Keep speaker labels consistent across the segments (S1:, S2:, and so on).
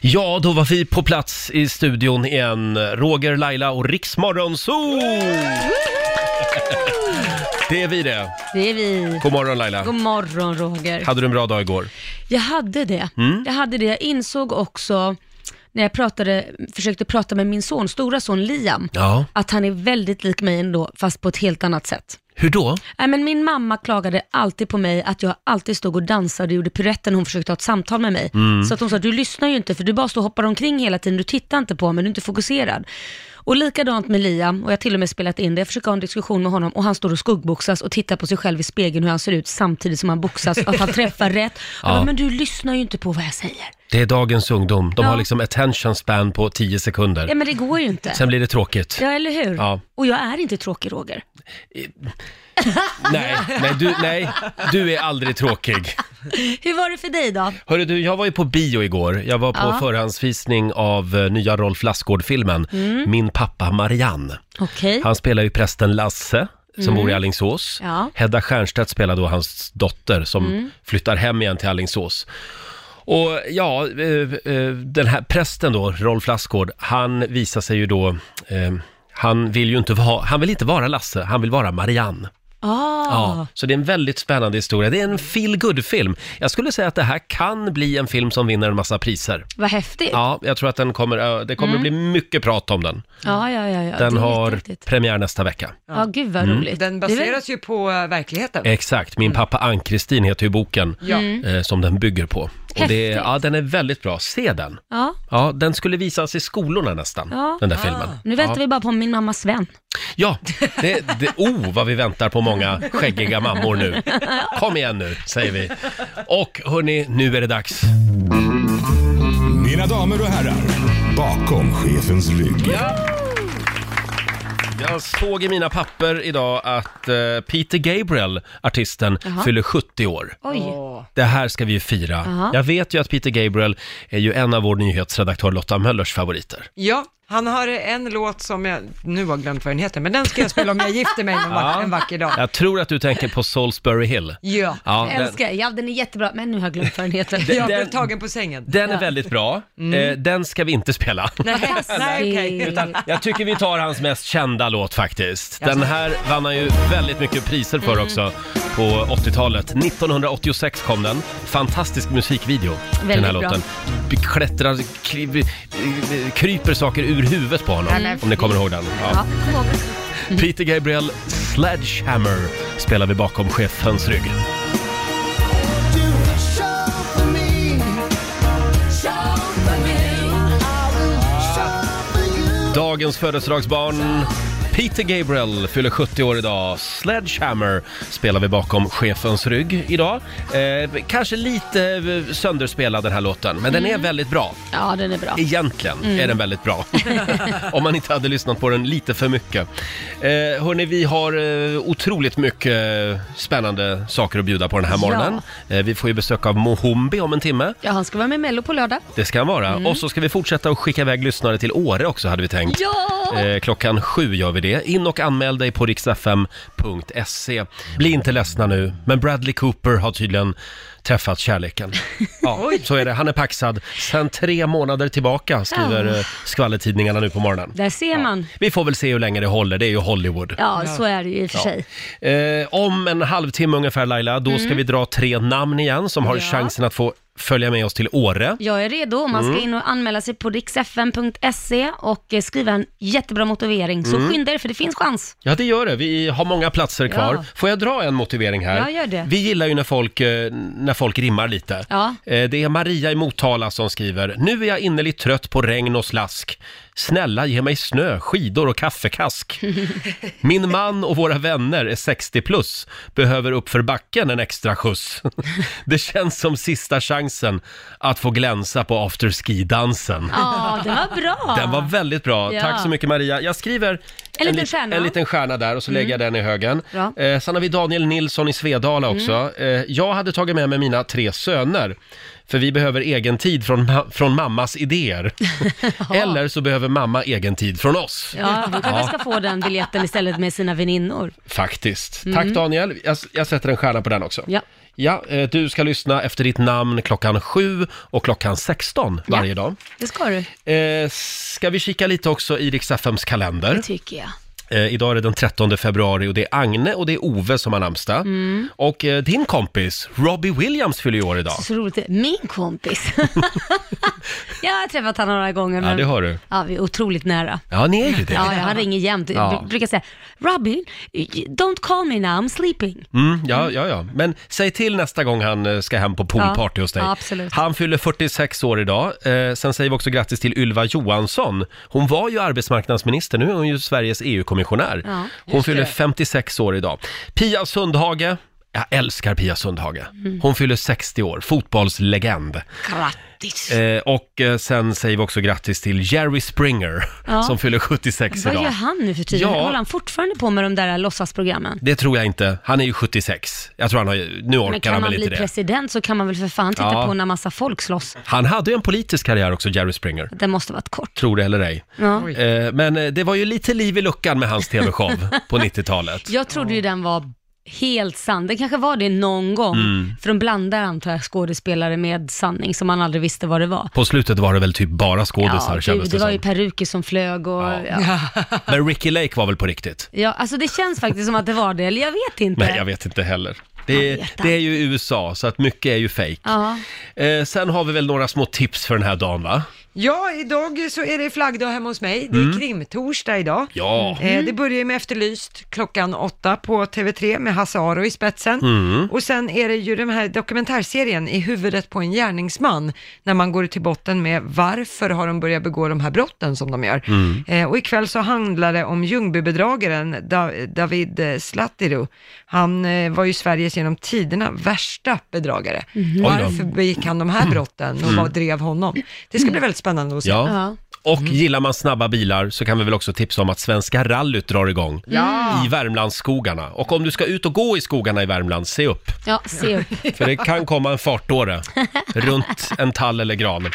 S1: Ja, då var vi på plats i studion igen. Roger, Laila och Riksmorgon Zoo! Det är vi det.
S2: Det är vi.
S1: God morgon Laila.
S2: God morgon Roger.
S1: Hade du en bra dag igår?
S2: Jag hade det.
S1: Mm.
S2: Jag hade det. Jag insåg också när jag pratade, försökte prata med min son, stora son Liam,
S1: Ja.
S2: att han är väldigt lik mig ändå, fast på ett helt annat sätt.
S1: Hur då?
S2: Nej, men min mamma klagade alltid på mig att jag alltid stod och dansade och gjorde piruetten när hon försökte ha ett samtal med mig.
S3: Mm.
S2: Så att hon sa, du lyssnar ju inte för du bara står och hoppar omkring hela tiden, du tittar inte på mig, du är inte fokuserad. Och likadant med Liam, och jag har till och med spelat in det, jag försöker ha en diskussion med honom och han står och skuggboxas och tittar på sig själv i spegeln hur han ser ut samtidigt som han boxas, att han träffar rätt. Jag
S1: Ja.
S2: bara, men du lyssnar ju inte på vad jag säger.
S1: Det är dagens ungdom. De
S2: Ja.
S1: har liksom attention span på 10 sekunder.
S2: Ja men det går ju inte.
S1: Sen blir det tråkigt.
S2: Ja eller hur?
S1: Ja.
S2: Och jag är inte tråkig Roger.
S1: Nej, nej du, nej, du är aldrig tråkig.
S2: Hur var det för dig då?
S1: Hörru du, jag var ju på bio igår. Jag var på
S2: Ja.
S1: förhandsvisning av eh, nya Rolf Lassgård-filmen
S2: Mm.
S1: Min pappa Marianne.
S2: Okej.
S1: Han spelar ju prästen Lasse som
S2: Mm.
S1: bor i Alingsås.
S2: Ja.
S1: Hedda Stiernstedt spelar då hans dotter som
S2: Mm.
S1: flyttar hem igen till Alingsås. Och ja, eh, eh, den här prästen då, Rolf Lassgård, han visar sig ju då, eh, han vill ju inte vara, han vill inte vara Lasse, han vill vara Marianne.
S2: Ah.
S1: Ja, så det är en väldigt spännande historia. Det är en feel good film Jag skulle säga att det här kan bli en film som vinner en massa priser.
S2: Vad häftigt.
S1: Ja, jag tror att den kommer, eh, det kommer
S2: Mm.
S1: bli mycket prat om den.
S2: Ja, ja, ja. ja.
S1: Den
S2: det är
S1: har
S2: jättehäftigt.
S1: premiär nästa vecka.
S2: Ja, gud vad
S1: Mm.
S2: roligt.
S4: Den
S2: Det är väl-
S4: baseras ju på eh, verkligheten.
S1: Exakt, min pappa Ann-Kristin heter ju boken
S4: Ja.
S1: eh, som den bygger på. Och det,
S2: Mm. Häftigt.
S1: ja, den är väldigt bra, se den.
S2: Ja.
S1: Ja, den skulle visas i skolorna nästan,
S2: Ja. Ah.
S1: den där filmen.
S2: Nu väntar
S1: ja.
S2: vi bara på min mamma Sven.
S1: Ja, det, det, oh vad vi väntar på många skäggiga mammor nu. Kom igen nu, säger vi. Och hörni, nu är det dags.
S5: Mina damer och herrar, bakom chefens rygg.
S1: Jag såg i mina papper idag att eh, Peter Gabriel, artisten,
S2: Jaha.
S1: fyller 70 år.
S2: Oj.
S1: Det här ska vi ju fira.
S4: Jaha.
S1: Jag vet ju att Peter Gabriel är ju en av vår nyhetsredaktör Lotta Möllers favoriter.
S4: Ja, han har en låt som jag nu har glömt vad den heter, men den ska jag spela om jag gifter mig någon vack- en vacker dag.
S1: Jag tror att du tänker på Salisbury Hill.
S4: Ja,
S1: Ja, den-
S2: Älskar, ja den är jättebra, men nu har jag glömt vad den heter.
S1: Den- Jag blev den-
S4: tagen på sängen.
S1: Den är väldigt bra. Eh, den ska vi inte spela.
S4: Nej, nej okej.
S1: Utan jag tycker vi tar hans mest kända låt faktiskt.
S4: Jaså.
S1: Den här vann han ju väldigt mycket priser för också på 80-talet. 1986 kom den. Fantastisk musikvideo, den här
S6: Väldigt bra.
S1: låten. Vi Klättrar, kri- kryper saker ur huvudet på honom,
S6: Ja, men
S1: om ni kommer ihåg den. Ja. Peter Gabriel, Sledgehammer, spelar vi bakom chefens rygg. Dagens födelsedagsbarn Peter Gabriel fyller 70 år idag. Sledgehammer spelar vi bakom chefens rygg idag. Eh, kanske lite eh, sönderspelad den här låten, men den är
S2: Mm.
S1: väldigt bra.
S2: Ja, den är bra.
S1: Egentligen
S2: Mm.
S1: är den väldigt bra. Om man inte hade lyssnat på den lite för mycket. Eh, hörni, vi har eh, otroligt mycket eh, spännande saker att bjuda på den här
S2: Ja.
S1: morgonen. Eh, vi får ju besök av Mohombi om en timme.
S2: Ja, han ska vara med i Mello på lördag.
S1: Det ska han vara.
S2: Mm.
S1: Och så ska vi fortsätta att skicka iväg lyssnare till Åre också hade vi tänkt.
S2: Ja!
S1: Eh, klockan sju gör vi det. In och anmäl dig på riksfm.se. Bli inte ledsna nu, men Bradley Cooper har tydligen träffat kärleken. Ja, så är det. Han är paxad sedan tre månader tillbaka, skriver
S2: Ja.
S1: eh, skvallertidningarna nu på morgonen.
S2: Där ser man.
S1: Vi får väl se hur länge det håller, det är ju Hollywood.
S2: Ja, så är det ju i och för
S1: Ja.
S2: sig.
S1: Eh, om en halvtimme ungefär Laila, då ska
S2: Mm.
S1: vi dra tre namn igen som har chansen att få följa med oss till Åre.
S2: Jag är redo. Man ska
S1: Mm.
S2: in och anmäla sig på riksfn.se och eh, skriva en jättebra motivering. Så
S1: Mm.
S2: skynda er, för det finns chans.
S1: Ja, det gör det. Vi har många platser kvar.
S2: Ja.
S1: Får jag dra en motivering här?
S2: Ja, gör det.
S1: Vi gillar ju när folk, eh, när folk rimmar lite.
S2: Ja.
S1: Eh, Det är Maria i Motala som skriver. Nu är jag innerligt trött på regn och slask. Snälla ge mig snö, skidor och kaffekask. Min man och våra vänner är 60 plus. Behöver upp för backen en extra skjuts. Det känns som sista chansen att få glänsa på afterski-dansen.
S2: Ja, den var bra.
S1: Den var väldigt bra.
S2: Ja.
S1: Tack så mycket Maria. Jag skriver en,
S2: liten
S1: lit-
S2: stjärna. Mm.
S1: en liten stjärna där och så lägger jag den i högen.
S2: Bra. Mm.
S1: Eh, sen har vi Daniel Nilsson i Svedala också. Eh, jag hade tagit med mig mina tre söner. För vi behöver egen tid från, ma- från mammas idéer. Eller så behöver mamma egen tid från oss.
S2: Ja, vi kanske
S1: Ja,
S2: ska få den biljetten istället med sina väninnor.
S1: Faktiskt.
S2: Mm.
S1: Tack Daniel. Jag, jag sätter en stjärna på den också.
S2: Ja.
S1: Ja, eh, du ska lyssna efter ditt namn klockan 7 och klockan 16 varje
S2: Ja.
S1: dag.
S2: Det ska du.
S1: Eh, ska vi kika lite också i Rix FMs kalender?
S2: Det tycker jag.
S1: Eh, idag är det den 13 februari och det är Agne och det är Ove som har namnsdag.
S2: Mm.
S1: Och eh, din kompis Robbie Williams fyller ju år idag.
S2: Så roligt. Min kompis. jag har träffat honom några gånger.
S1: Ja, det har du.
S2: Ja, vi är otroligt nära.
S1: Ja, ni är ju det.
S2: Ja, ja, han ringer jämt.
S1: Ja.
S2: Jag brukar säga, Robin, don't call me now, I'm sleeping.
S1: Mm, ja, ja, ja. Men säg till nästa gång han eh, ska hem på poolparty
S2: Ja,
S1: hos dig.
S2: ja, absolut.
S1: Han fyller 46 år idag. Eh, sen säger vi också grattis till Ylva Johansson. Hon var ju arbetsmarknadsminister, nu är hon ju Sveriges EU-kommissionär.
S2: Ja,
S1: hon fyller 56 år idag. Pia Sundhage. Jag älskar Pia Sundhage.
S2: Mm.
S1: Hon fyller 60 år, fotbollslegend.
S2: Grattis.
S1: Eh, och eh, sen säger vi också grattis till Jerry Springer
S2: Ja.
S1: som fyller 76
S2: Vad
S1: idag.
S2: gör han nu för tiden?
S1: Ja.
S2: Håller han fortfarande på med de där låtsasprogrammen?
S1: Det tror jag inte. Han är ju 76. Jag tror han har, nu orkar
S2: Men kan
S1: han
S2: man
S1: väl
S2: bli
S1: inte det.
S2: president så kan man väl för fan titta
S1: Ja.
S2: på när massa folk slåss.
S1: Han hade ju en politisk karriär också, Jerry Springer.
S2: Det måste varit kort.
S1: Tror det eller ej.
S2: Ja.
S4: Oj.
S1: Eh, Men eh, det var ju lite liv i luckan med hans TV-show på 90-talet.
S2: Jag trodde ju den var helt sann. Den kanske var det någon gång,
S1: Mm.
S2: för de blandar antar jag skådespelare med sanning som man aldrig visste vad det var.
S1: På slutet var det väl typ bara skådisar
S2: gud,
S1: kändes
S2: det
S1: det
S2: var
S1: som.
S2: ju peruker som flög och...
S1: Ja.
S2: Ja. Ja.
S1: Men Ricky Lake var väl på riktigt?
S2: alltså det känns faktiskt som att det var det, eller jag vet inte.
S1: Nej, jag vet inte heller. Det,
S2: Jag vet
S1: det är ju USA, så att mycket är ju fejk.
S2: Ja.
S1: Eh, sen har vi väl några små tips för den här dagen, va?
S4: Ja, idag så är det flaggdag hemma hos mig. Det är krimtorsdag idag.
S1: Mm. Ja.
S4: Eh, det börjar ju med Efterlyst klockan åtta på TV3 med Hasse Aro i spetsen.
S1: Mm.
S4: Och sen är det ju den här dokumentärserien I huvudet på en gärningsman, när man går till botten med varför har de börjat begå de här brotten som de gör.
S1: Mm.
S4: Eh, och ikväll så handlar det om Ljungbybedragaren da- David eh, Slatteru. Han eh, var ju Sveriges genom tiderna värsta bedragare.
S2: Mhm.
S1: då. Mm.
S4: Varför begick han de här brotten och vad drev honom? Det ska bli väldigt spännande att se.
S1: Ja.
S2: Mm. Ja. Mm.
S1: Och gillar man snabba bilar så kan vi väl också tipsa om att Svenska rallyt drar igång
S2: Mm.
S1: i Värmlandsskogarna. Och om du ska ut och gå i skogarna i Värmland, se upp.
S2: Ja, se upp.
S1: För det kan komma en fartåre runt en tall eller gran.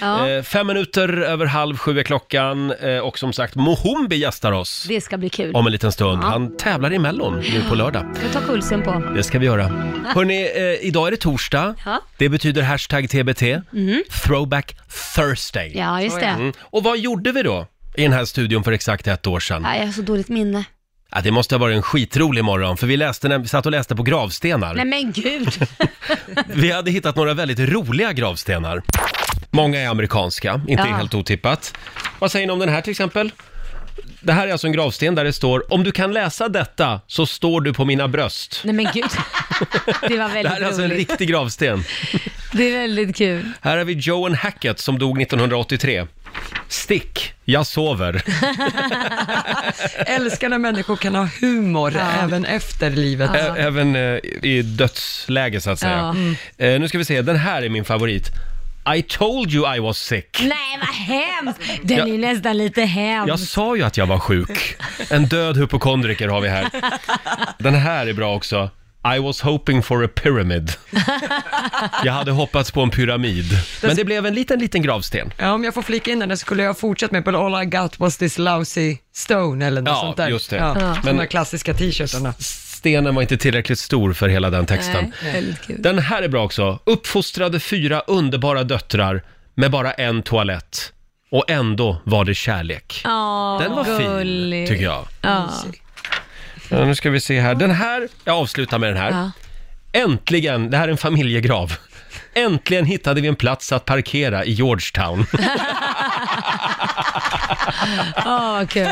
S2: Ja.
S1: Eh, fem minuter över halv sju är klockan eh, och som sagt, Mohombi gästar oss
S2: Det ska bli kul.
S1: om en liten stund. Han tävlar i Mellon nu på lördag.
S2: Ska vi ta pulsen på?
S1: Det ska vi göra. Hörrni, eh, idag är det torsdag.
S2: Ja. Mhm.
S1: Det betyder hashtag TBT, Throwback Thursday.
S2: Ja, just det.
S1: Mm. Och vad gjorde vi då i den här studion för exakt ett år sedan?
S2: Nej, jag har så dåligt minne.
S1: Ja, det måste ha varit en skitrolig morgon, för vi, läste, vi satt och läste på
S2: Nej
S1: gravstenar.
S2: men gud.
S1: Vi hade hittat några väldigt roliga gravstenar. Många är amerikanska, inte
S2: Ja.
S1: helt otippat. Vad säger ni om den här till exempel? Det här är alltså en gravsten där det står “Om du kan läsa detta så står du på mina bröst”.
S2: Nej men gud. Det var
S1: Det här är
S2: väldigt
S1: alltså en
S2: roligt.
S1: riktig gravsten.
S2: Det är väldigt kul.
S1: Här har vi Joan Hackett som dog 1983. Stick, jag sover.
S4: Älskar när människor kan ha humor även efter livet. Alltså.
S1: Ä- Även eh, i dödsläge så att säga.
S2: Ja. Mm.
S1: Eh, nu ska vi se, den här är min favorit. I told you I was sick.
S2: Nej vad hemskt. Den
S1: Jag-
S2: är nästan lite
S1: Jag
S2: hemsk.
S1: sa ju att jag var sjuk. En död hypokondriker har vi här. Den här är bra också. I was hoping for a pyramid. Jag hade hoppats på en pyramid. Men det blev en liten, liten gravsten.
S4: Ja, om jag får flika in den så skulle jag ha fortsatt med på All I got was this lousy stone eller något
S1: Ja,
S4: sånt där.
S1: just det.
S4: Ja,
S1: Ja.
S4: De
S1: Men-
S4: där klassiska t-shirtarna.
S1: Stenen var inte tillräckligt stor för hela den texten.
S2: Nej, väldigt kul.
S1: Den här är bra också. Uppfostrade fyra underbara döttrar med bara en toalett. Och ändå var det kärlek.
S2: Ja,
S1: Den var fin,
S2: gullig.
S1: tycker jag.
S2: Ja.
S1: Ja, nu ska vi se här. Den här, jag avslutar med den här.
S2: Ja.
S1: Äntligen, det här är en familjegrav. Äntligen hittade vi en plats att parkera i Georgetown.
S2: Ja, vad kul.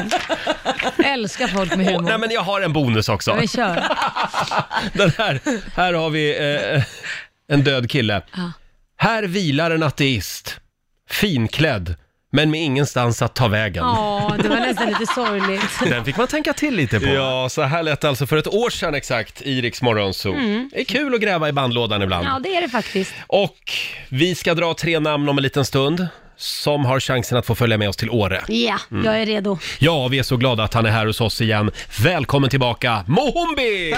S2: Älskar folk med
S1: Och, nej,
S2: humor.
S1: men jag har en bonus också.
S2: Men kör.
S1: Den här, här har vi eh, en död kille.
S2: Ja.
S1: Här vilar en ateist, finklädd, men med ingenstans att ta vägen.
S2: Ja, det var nästan lite sorgligt.
S1: Den fick man tänka till lite på. Ja, så här lät det alltså för ett år sedan exakt i Rix Morgonzoo. Det är kul att gräva i bandlådan ibland.
S2: Mm. Ja, det är det faktiskt.
S1: Och vi ska dra tre namn om en liten stund som har chansen att få följa med oss till Åre. Mm.
S2: Ja, jag är redo.
S1: Ja, vi är så glada att han är här hos oss igen. Välkommen tillbaka, Mohombi!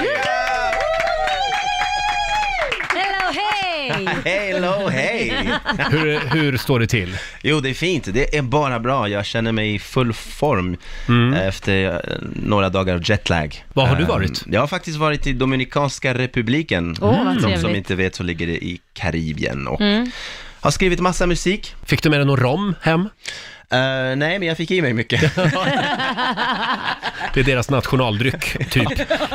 S2: Hello, hej!
S3: Hello, hej!
S1: Hur, hur står det till?
S3: Jo, det är fint. Det är bara bra. Jag känner mig i full form eh, efter eh, några dagar av jetlag.
S1: Mm. Var har du
S3: Eh,
S1: varit?
S3: Jag har faktiskt varit i Dominikanska republiken.
S2: Åh, vad
S3: För de som
S2: trevligt. Mm.
S3: inte vet så ligger det i Karibien och har skrivit massa musik.
S1: Fick du med dig någon rom hem?
S3: Eh, nej, men jag fick i mig mycket.
S1: Det är deras nationaldryck, typ.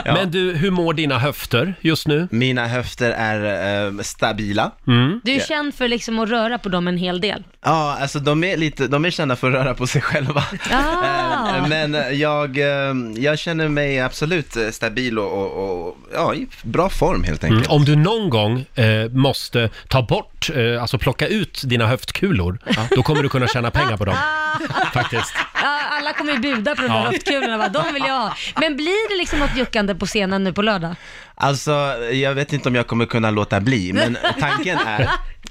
S1: Men du, hur mår dina höfter just nu? Mm.
S3: Mina höfter är eh, stabila.
S2: Du är känd för liksom att röra på dem en hel del.
S3: Ja, alltså de är lite, de är kända för att röra på sig själva.
S2: Ah.
S3: Eh, Men jag, eh, jag känner mig absolut eh, stabil och, och, och ja, i bra form helt enkelt.
S1: Mm. Om du någon gång eh, måste ta bort, eh, alltså plocka ut dina höftkulor, då kommer du kunna tjäna pengar på dem. Faktiskt.
S2: Ja, alla kommer ju buda på de där
S1: Ja.
S2: höftkulorna, va? de vill jag ha. Men blir det liksom något juckande på scenen nu på lördag?
S3: Alltså, jag vet inte om jag kommer kunna låta bli, men tanken är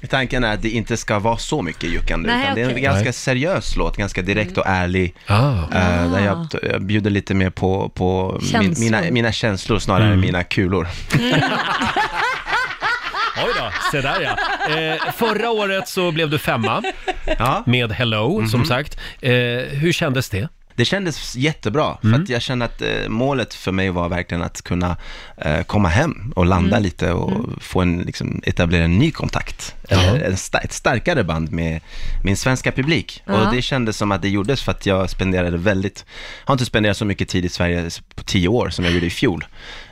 S3: Tanken är att det inte ska vara så mycket juckande,
S2: Nej,
S3: utan det är en
S2: okej.
S3: ganska
S1: Nej.
S3: seriös låt, ganska direkt och ärlig.
S1: Ah.
S3: eh, där jag, jag bjuder lite mer på, på min,
S2: Känslor.
S3: mina, mina känslor snarare än mina kulor.
S1: Oj då, se där ja. Eh, förra året så blev du femma
S3: Ja. Mhm.
S1: med Hello, som sagt. Eh, hur kändes det?
S3: Det kändes jättebra,
S2: Mm.
S3: för att jag kände att eh, målet för mig var verkligen att kunna eh, komma hem och landa
S2: Mm.
S3: lite och få en, liksom, etablera en ny kontakt. Eller en sta- ett starkare band med min svenska publik.
S2: Ja.
S3: Och det kändes som att det gjordes för att jag spenderade väldigt, har inte spenderat så mycket tid i Sverige på tio år som jag gjorde i fjol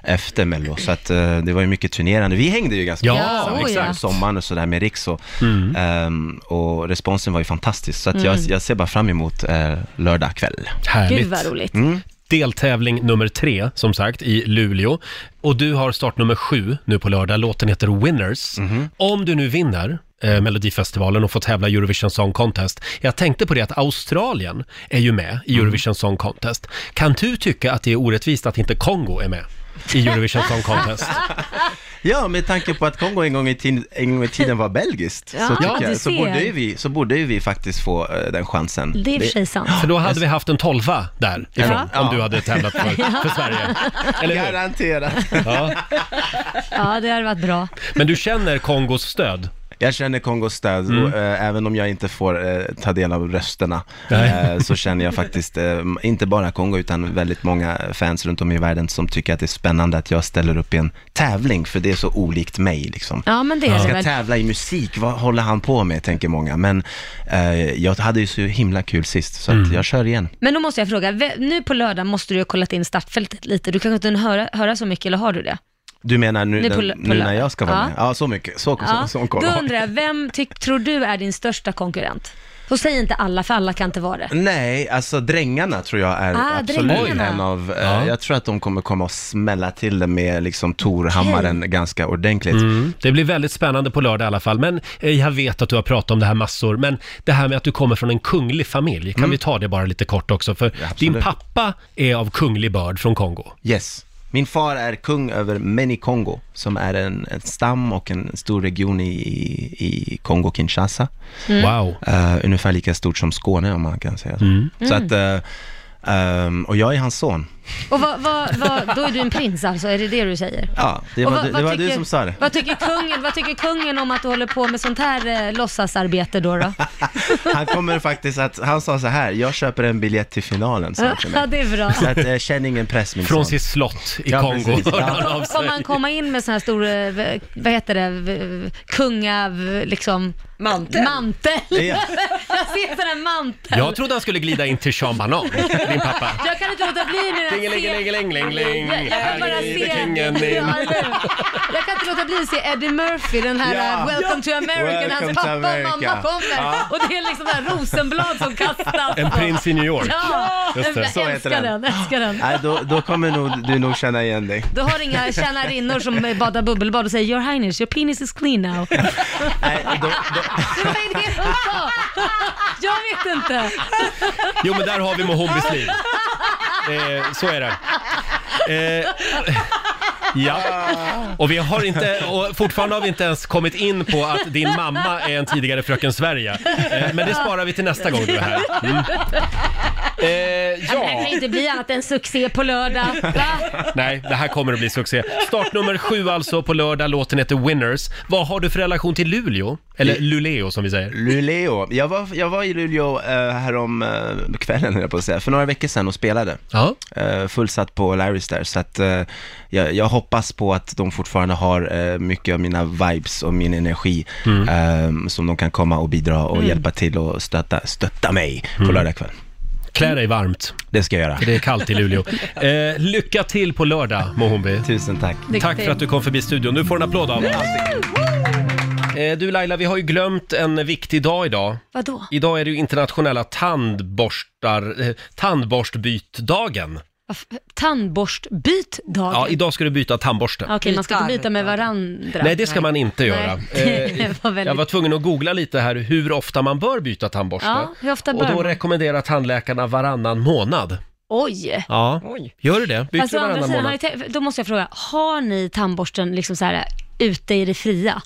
S3: efter Mello. Så att eh, det var ju mycket turnerande. Vi hängde ju ganska
S1: Ja,
S3: mycket
S2: oj, ja. Mm.
S3: på sommaren och sådär med Riks och, ehm, och responsen var ju fantastisk. Så att jag, jag ser bara fram emot eh, lördag kväll. Mm.
S2: Gud
S1: Härligt.
S2: vad roligt.
S1: Deltävling nummer tre, som sagt, i Luleå. Och du har start nummer sju nu på lördag. Låten heter Winners.
S3: Mhm.
S1: Om du nu vinner eh, Melodifestivalen och får tävla i Eurovision Song Contest. Jag tänkte på det att Australien är ju med i
S3: Mm.
S1: Eurovision Song Contest. Kan du tycka att det är orättvist att inte Kongo är med i Eurovision Song Contest?
S3: Ja, med tanke på att Kongo en gång i tiden, en gång i tiden var belgiskt, så, tycker
S2: Ja, du
S3: jag, så,
S2: ser.
S3: borde ju vi, så borde ju vi faktiskt få eh, den chansen.
S2: Det är i och för sig sant.
S1: För då hade vi haft en tolva där ifrån,
S3: Ja.
S1: om
S3: Ja.
S1: du hade tävlat för, för Sverige. Eller hur?
S3: Garanterat.
S1: Ja.
S2: Ja, det hade varit bra.
S1: Men du känner Kongos stöd?
S3: Jag känner Kongos stöd, och, eh, även om jag inte får eh, ta del av rösterna,
S1: Nej.
S3: eh, så känner jag faktiskt, eh, inte bara Kongo, utan väldigt många fans runt om i världen som tycker att det är spännande att jag ställer upp i en tävling, för det är så olikt mig liksom.
S2: Ja, men det
S3: Jag
S2: är det
S3: ska
S2: väl.
S3: tävla i musik, vad håller han på med, tänker många. Men eh, jag hade ju så himla kul sist, så att jag kör igen.
S2: Men då måste jag fråga, ve- nu på lördag måste du ha kollat in startfältet lite. Du kanske inte hinner höra, höra så mycket, eller har du det?
S3: Du menar nu,
S2: Nu
S3: den,
S2: på lö- på
S3: nu när
S2: lördag.
S3: jag ska vara
S2: Ja.
S3: med? Ja, så mycket. Så, så, så,
S2: Då undrar jag, vem tyck, tror du är din största konkurrent? Och säg inte alla, för alla kan inte vara det.
S3: Nej, alltså Drängarna tror jag är
S2: Ah,
S3: absolut
S2: Drängarna.
S3: en av, eh,
S1: Ja.
S3: jag tror att de kommer komma och smälla till det med liksom Torhammaren ganska ordentligt.
S1: Mm. Det blir väldigt spännande på lördag i alla fall. Men eh, jag vet att du har pratat om det här massor. Men det här med att du kommer från en kunglig familj, kan vi ta det bara lite kort också? För
S3: absolut.
S1: din pappa är av kunglig börd från Kongo.
S3: Yes. Min far är kung över Meni Kongo, som är en, en stam och en stor region i, i Kongo-Kinshasa.
S2: Mm.
S1: Wow. Mm.
S3: Eh, ungefär lika stort som Skåne om man kan säga så. så att, eh, ehm, och jag är hans son.
S2: Och vad, vad, vad, då är du en prins alltså, är det det du säger?
S3: Ja, det
S2: Och
S3: var,
S2: vad-
S3: du,
S2: vad
S3: det var du
S2: tycker-
S3: som sa det.
S2: Vad tycker, kungen, vad tycker kungen om att du håller på med sånt här eh, låtsasarbete då? då?
S3: Han kommer faktiskt att, han sa så här, jag köper en biljett till finalen, sa han till
S2: ja,
S3: mig.
S2: det är bra.
S3: Så att eh, känn ingen press min son.
S1: Från sitt slott i
S3: Ja,
S1: Kongo.
S3: precis.
S1: hörde
S3: Ja.
S1: han av sig.
S2: Får man komma in med sån här stor, eh, v- vad heter det, V- kunga, v- liksom...
S4: Mantel.
S2: Mantel!
S3: Ja.
S2: Jag ser sån här mantel.
S1: Jag trodde han skulle glida in till Sean Banan, din pappa.
S2: Jag kan inte låta bli när jag ser...
S1: Dingelingelingelingeling,
S2: Jag, jag kan bara se...
S1: här kungen
S2: Ja,
S1: din.
S2: eller hur? jag kan inte låta bli att se Eddie Murphy, den här
S3: Ja.
S2: eh, Welcome to America, när
S3: Welcome
S2: hans
S3: to
S2: pappa och mamma
S3: America.
S2: kommer. Och det är liksom där rosenblad som kastas.
S1: En prins i New York.
S2: Ja,
S1: Just det,
S2: jag
S3: så heter
S2: älskar den.
S3: den.
S2: älskar den.
S3: Nej, då, då kommer nog, du nog känna igen dig.
S2: Du har inga tjänarinnor som eh, badar bubbelbad och säger “Your Highness, your penis is clean now”.
S3: Nej, då, då,
S2: Det var ju det hon sa. Jag vet inte.
S1: Jo, men där har vi Mohombis liv. Eh, så är det. Eh, ja, och vi har inte, och fortfarande har vi inte ens kommit in på att din mamma är en tidigare Fröken Sverige. Eh, men det sparar vi till nästa gång du är här. Mm. Eh,
S2: Ja. men Det här
S1: ja.
S2: kan inte bli annat än succé på lördag. Va?
S1: Nej, det här kommer att bli succé. Start nummer sju alltså på lördag, låten heter Winners. Vad har du för relation till Luleå? Eller Luleå som vi säger.
S3: Luleå. Jag var, jag var i Luleå eh, härom eh, kvällen, höll jag på att säga, för några veckor sedan och spelade.
S1: Ja.
S3: Eh, fullsatt på Larrys där, så att eh, jag, jag hoppas på att de fortfarande har eh, mycket av mina vibes och min energi
S1: Mm.
S3: eh, som de kan komma och bidra och hjälpa till och stötta, stötta mig på lördag kväll.
S1: Mm. Klä dig varmt,
S3: Det ska jag göra.
S1: för det är kallt i Luleå. Eh, lycka till på lördag, Mohombi.
S3: Tusen tack.
S2: Lycka
S1: Tack
S2: till.
S1: för att du kom förbi studion. Du får en applåd av oss. Eh, Du Laila, vi har ju glömt en viktig dag idag.
S2: Vadå?
S1: Idag är det ju internationella tandborstar, eh, tandborstbytdagen.
S2: Varför- Tandborstbyt dag.
S1: Ja, idag ska du byta tandborste.
S2: Okej, man ska inte byta med varandra.
S1: Nej, det ska man inte göra.
S2: Nej,
S1: Eh,
S2: det var väldigt...
S1: Jag var tvungen att googla lite här hur ofta man bör byta tandborste.
S2: Ja, hur ofta
S1: Och
S2: bör
S1: då
S2: man?
S1: rekommenderar tandläkarna varannan månad.
S2: Oj!
S1: Ja,
S4: Oj.
S1: gör du det? Byter
S2: Alltså,
S1: du
S2: å andra
S1: varannan
S2: sidan, har ni
S1: månad?
S2: tänkt- då måste jag fråga, har ni tandborsten liksom så här ute i det fria?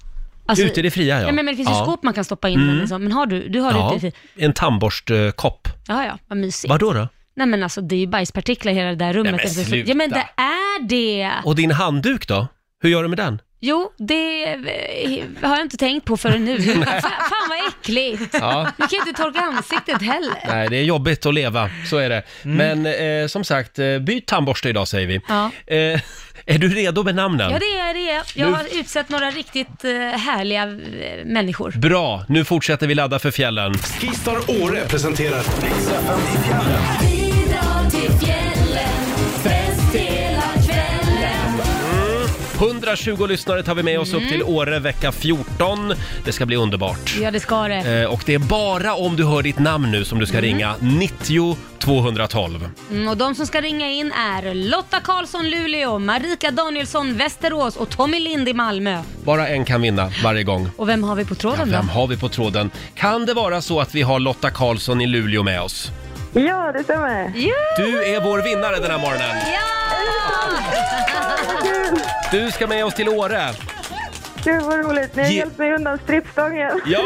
S2: Alltså,
S1: Ute i det fria, ja. Mm.
S2: Ja, men, men det finns ju skåp man kan stoppa in den liksom. Men har du, du har det ute
S1: Ja,
S2: i det fria?
S1: en tandborstkopp.
S2: Ja, ja, vad mysigt.
S1: Vadå då?
S2: Nej men alltså det är ju bajspartiklar i hela det där rummet.
S1: Nej, men
S2: Alltså,
S1: sluta.
S2: Ja men det är det!
S1: Och din handduk då? Hur gör du med den?
S2: Jo, det eh, har jag inte tänkt på förrän nu. Fan fan vad äckligt!
S1: Ja.
S2: Man kan ju inte torka ansiktet heller.
S1: Nej, det är jobbigt att leva, så är det. Men eh, som sagt, eh, byt tandborste idag säger vi.
S2: Mm. Ja.
S1: Eh, är du redo med namnen?
S2: Ja det är det. Jag har utsett några riktigt eh, härliga eh, människor.
S1: Bra, nu fortsätter vi ladda för fjällen.
S5: Skistar Åre presenterar
S6: Bidrag till fjällen, fest hela kvällen.
S1: 120 lyssnare tar vi med oss
S2: Mm.
S1: upp till Åre vecka 14. Det ska bli underbart.
S2: Ja det ska det.
S1: Eh, och det är bara om du hör ditt namn nu som du ska ringa 90 212.
S2: Mm, och de som ska ringa in är Lotta Karlsson, Luleå, Marika Danielsson, Västerås och Tommy Lind i Malmö.
S1: Bara en kan vinna varje gång.
S2: Och vem har vi på tråden
S1: Vem
S2: då?
S1: har vi på tråden? Kan det vara så att vi har Lotta Karlsson i Luleå med oss?
S7: Ja, det stämmer.
S1: Du är vår vinnare den här morgonen. Du ska med oss till Åre.
S7: Gud vad roligt. Ni har
S1: Ge-
S7: hjälpt mig undan strippstången.
S1: Ja!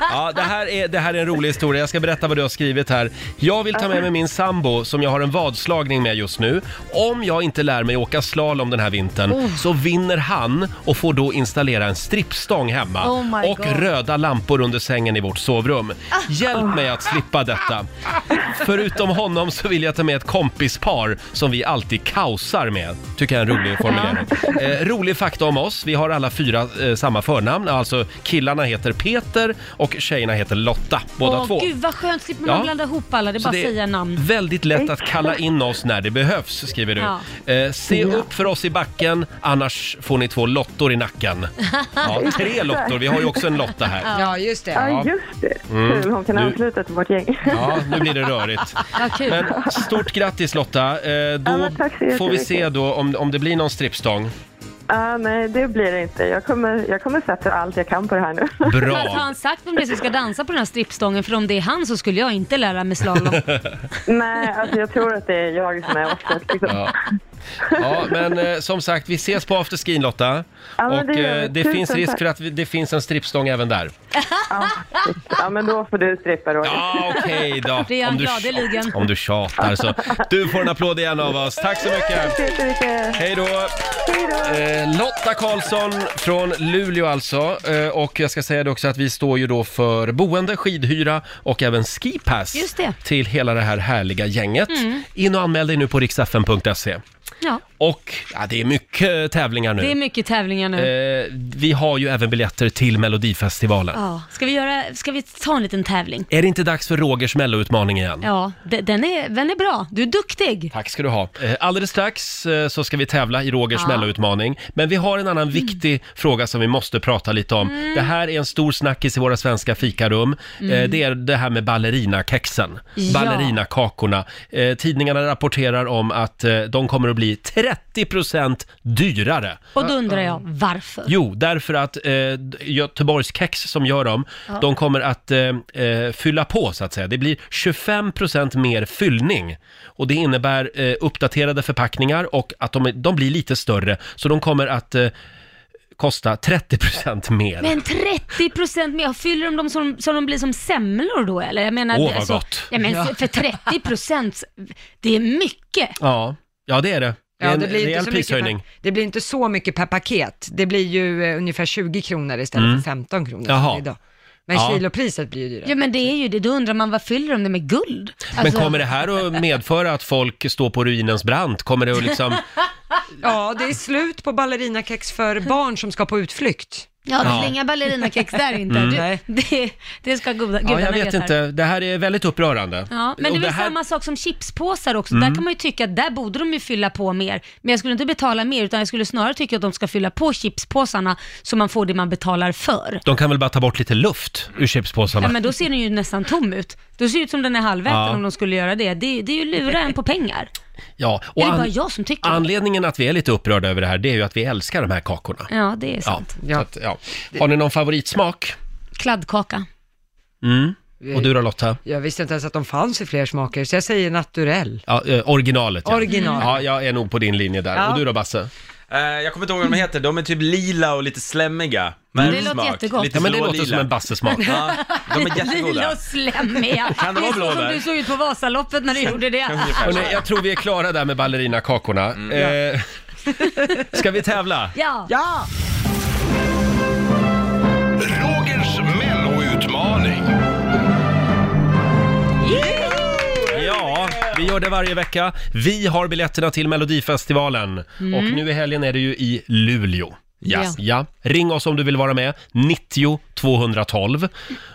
S1: ja det, här är, det här är en rolig historia. Jag ska berätta vad du har skrivit här. Jag vill ta med mig min sambo som jag har en vadslagning med just nu. Om jag inte lär mig åka slalom den här vintern
S2: Oh.
S1: så vinner han och får då installera en strippstång hemma
S2: Oh my
S1: och
S2: God.
S1: röda lampor under sängen i vårt sovrum. Hjälp mig att slippa detta. Förutom honom så vill jag ta med ett kompispar som vi alltid kaosar med. Tycker jag är en rolig formulering. Eh, rolig fakta om oss. Vi har alla fyra eh, samma förnamn. Alltså killarna heter Peter och tjejerna heter Lotta. Båda
S2: Åh,
S1: två.
S2: Gud vad skönt, slipper
S1: Ja.
S2: man blanda ihop alla, det är bara att säga namn.
S1: väldigt lätt att kalla in oss när det behövs, skriver du.
S2: Ja.
S1: Eh, se upp för oss i backen, annars får ni två lottor i nacken. Ja, tre lottor, vi har ju också en Lotta här. Mm.
S4: Ja, just det.
S7: Ja, just det. Kul, hon kan
S1: Nu-
S7: ansluta till vårt gäng.
S1: Ja, nu blir det rörigt.
S2: Ja, kul.
S1: Men stort grattis Lotta. Eh,
S7: Ja,
S1: Då
S7: men tack så jättemycket.
S1: får vi se då om, om det blir någon strippstång.
S7: Ah, nej, det blir det inte. Jag kommer, jag kommer sätta allt jag kan på det här nu.
S2: Fast har
S1: Bra.
S2: han sagt vem det är som ska dansa på den här strippstången? För om det är han så skulle jag inte lära mig slalom.
S7: Mm. nej, alltså jag tror att det är jag som är offret. Liksom.
S1: Ja. Ja, men eh, som sagt, vi ses på afterskin Lotta.
S7: Ja, men
S1: Och
S7: det gör vi.
S1: eh, det
S7: Tusen
S1: finns risk
S7: tack.
S1: för att vi- det finns en strippstång även där.
S7: Ja, men då får du strippa Roger.
S1: Ja, okej då.
S2: Det gör
S1: Om
S2: han
S1: du
S2: gladeligen.
S1: tjat- Om du tjatar så. Du får en applåd igen av oss. Tack så
S7: Tack så
S1: mycket.
S7: jättemycket.
S1: Hej då!
S7: Hej då.
S1: Eh, Lotta Karlsson från Luleå alltså. Eh, och jag ska säga det också att vi står ju då för boende, skidhyra och även skipass
S2: Just det. Mm.
S1: till hela det här härliga gänget. In och anmäl dig nu på riksfn.se.
S2: Ja,
S1: Och ja, det är mycket tävlingar
S2: det
S1: nu.
S2: är mycket tävlingar nu.
S1: Eh, vi har ju även biljetter till Melodifestivalen.
S2: Ja. Ska, vi göra, ska vi ta en liten tävling?
S1: Är det inte dags för Rogers melloutmaning igen?
S2: Ja, de- den är, den är bra. Du är duktig.
S1: Tack ska du ha. Eh, Alldeles strax eh, så ska vi tävla i Rogers
S2: Ja. Mm.
S1: melloutmaning. Men vi har en annan viktig fråga som vi måste prata lite om. Det här är en stor snackis i våra svenska fikarum. Eh, Det är det här med ballerinakexen.
S2: Mm. Ja.
S1: Ballerinakakorna. Eh, Tidningarna rapporterar om att eh, de kommer att bli 30% dyrare.
S2: Och då undrar jag varför.
S1: Jo, därför att eh, Göteborgskex som gör dem, de kommer att eh, eh, fylla på så att säga. Det blir 25% mer fyllning och det innebär eh, uppdaterade förpackningar och att de, är- de blir lite större. Så de kommer att eh, kosta 30% mer.
S2: Men 30 procent mer, fyller de dem som, som de blir som semlor då eller? Jag menar, alltså,
S1: Åh, vad gott.
S2: Ja, men för, för 30 procent, det är mycket.
S1: Ja, ja det är det. Det är
S4: Ja,
S1: en
S4: det, blir inte
S1: rejäl
S4: så mycket
S1: prishöjning.
S4: per, det blir inte så mycket per paket. Det blir ju eh, ungefär 20 kronor istället för 15 kronor som
S1: Mm. Jaha.
S4: det är idag. Men
S1: Ja.
S4: kilopriset blir ju dyrare.
S2: Ja men det är ju det, då undrar man vad fyller de det med guld? Alltså,
S1: Men kommer det här att medföra att folk står på ruinens brant? Kommer det att liksom...
S4: Ja, det är slut på ballerinakex för barn som ska på utflykt.
S2: Ja,
S1: Ja.
S2: det slingar ballerinakex där inte.
S4: Nej.
S2: Du, det, det ska goda,
S1: Mm. Ja,
S2: gudarna
S1: jag vet
S2: veta.
S1: inte. Det här är väldigt upprörande.
S2: Ja, men
S1: Och
S2: det är väl
S1: här- Mm.
S2: samma sak som chipspåsar också. Där kan man ju tycka att där borde de ju fylla på mer. Men jag skulle inte betala mer utan jag skulle snarare tycka att de ska fylla på chipspåsarna så man får det man betalar för.
S1: De kan väl bara ta bort lite luft ur chipspåsarna?
S2: Ja men då ser den ju nästan tom ut. Då ser det ut som den är halväten
S1: Ja.
S2: om de skulle göra det. Det, det är ju lura en på pengar.
S1: Ja, och
S2: är det
S1: an-
S2: bara jag som tycker det?
S1: anledningen att vi är lite upprörda över det här, det är ju att vi älskar de här kakorna.
S2: Ja, det är
S1: Ja,
S2: sant.
S1: så att, ja. Har ni någon favoritsmak? Mm.
S2: Kladdkaka.
S1: Och du då Lotta?
S4: Jag visste inte ens att de fanns i fler smaker, så jag säger naturell.
S1: Ja, eh, originalet ja.
S4: Original.
S1: Ja, jag är nog på din linje där.
S4: Ja.
S1: Och du då Basse?
S8: Eh, jag kommer inte ihåg vad de heter, de är typ lila och lite slemmiga. Med
S2: Mm. Det låter
S8: smak.
S2: jättegott.
S8: Lite
S1: Ja, men det
S8: blå och
S1: låter
S8: lila.
S1: som en Basse-smak.
S8: Ja, de är
S2: Lila
S8: jättegoda.
S2: och slemmiga.
S8: Kan det
S2: är
S8: vara
S2: så som
S8: blåbär?
S2: du såg ut på Vasaloppet när du gjorde det.
S8: Ungefär så.
S1: Hörrni, jag tror vi är klara där med ballerinakakorna. Eh, ska vi tävla?
S2: Ja.
S4: Ja!
S5: Rogers melloutmaning.
S1: Ja, vi gör det varje vecka. Vi har biljetterna till Melodifestivalen och nu i helgen är det ju i Luleå.
S2: Mm. Ja.
S1: Ja, ring oss om du vill vara med, 90 212.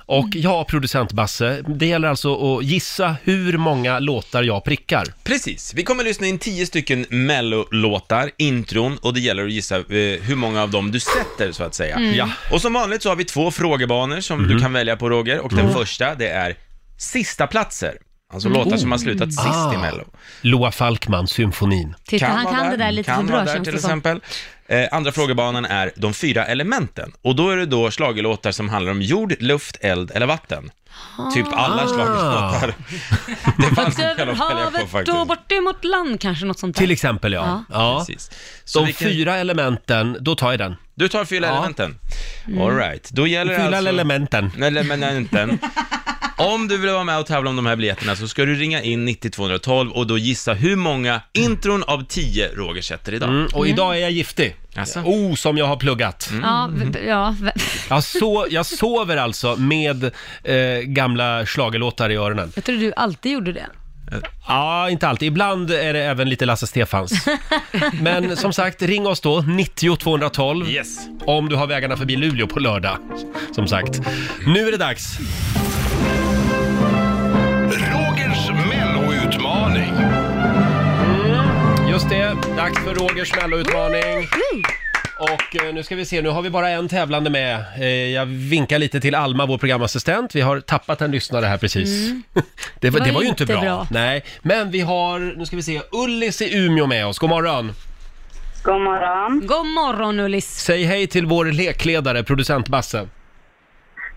S1: Och ja, producent Basse, det gäller alltså att gissa hur många låtar jag prickar.
S8: Precis, vi kommer lyssna in tio stycken mellolåtar, intron, och det gäller att gissa eh, hur många av dem du sätter så att säga.
S2: Mm.
S8: Ja. Och som vanligt så har vi två frågebanor som
S1: Mhm.
S8: du kan välja på Roger, och den
S1: Mm.
S8: första det är sista platser. Alltså
S2: Mm.
S8: låtar
S2: Oh.
S8: som har slutat sist i
S1: Ah.
S8: mello.
S1: Loa Falkman, symfonin.
S2: Titta, han
S8: vara
S2: kan det där lite
S8: kan
S2: för bra
S8: vara där
S2: känns
S8: till
S2: det som.
S8: exempel. Eh, andra frågebanan är de fyra elementen. Och då är det då schlagerlåtar som handlar om jord, luft, eld eller vatten. Typ
S1: Ah.
S8: alla schlagerlåtar. Det fanns
S2: Fast
S8: en del
S2: Ah. över
S8: att välja på
S2: havet och
S8: faktiskt.
S2: bort emot land kanske, något sånt där.
S1: Till exempel ja.
S2: Ja.
S1: ja.
S8: Precis. Så
S1: De
S8: vilken-
S1: fyra elementen, då tar jag den.
S8: Du tar fyra
S1: Ja.
S8: elementen.
S2: Mm.
S8: All right. Då gäller det
S1: Fyra
S8: alltså...
S1: elementen.
S8: Nej, Elementen. Om du vill vara med och tävla om de här biljetterna så ska du ringa in 90212 och då gissa hur många intron av 10 Roger sätter idag.
S1: Mm, och idag är jag giftig.
S8: Jaså?
S1: Oh, som jag har pluggat.
S2: Ja, v- v- ja, v-
S1: Jag, so jag sover alltså med eh, gamla schlagerlåtar i öronen.
S2: jag tror du alltid gjorde det.
S1: Eh, Ja, inte alltid. Ibland är det även lite Lasse Stefans. Men som sagt, ring oss då, 90 212,
S8: Yes.
S1: om du har vägarna förbi Luleå på lördag. Som sagt. Nu är det dags.
S5: Rogers melloutmaning.
S1: Mm, Just det, dags för Rogers melloutmaning. Och eh, nu ska vi se, nu har vi bara en tävlande med. Eh, jag vinkar lite till Alma, vår programassistent. Vi har tappat en lyssnare här precis. Det, var, det var ju inte bra.
S2: bra.
S1: Nej, men vi har, nu ska vi se, Ullis i Umeå med oss. God morgon!
S7: God morgon.
S2: God morgon Ullis.
S1: Säg hej till vår lekledare, producent Basse.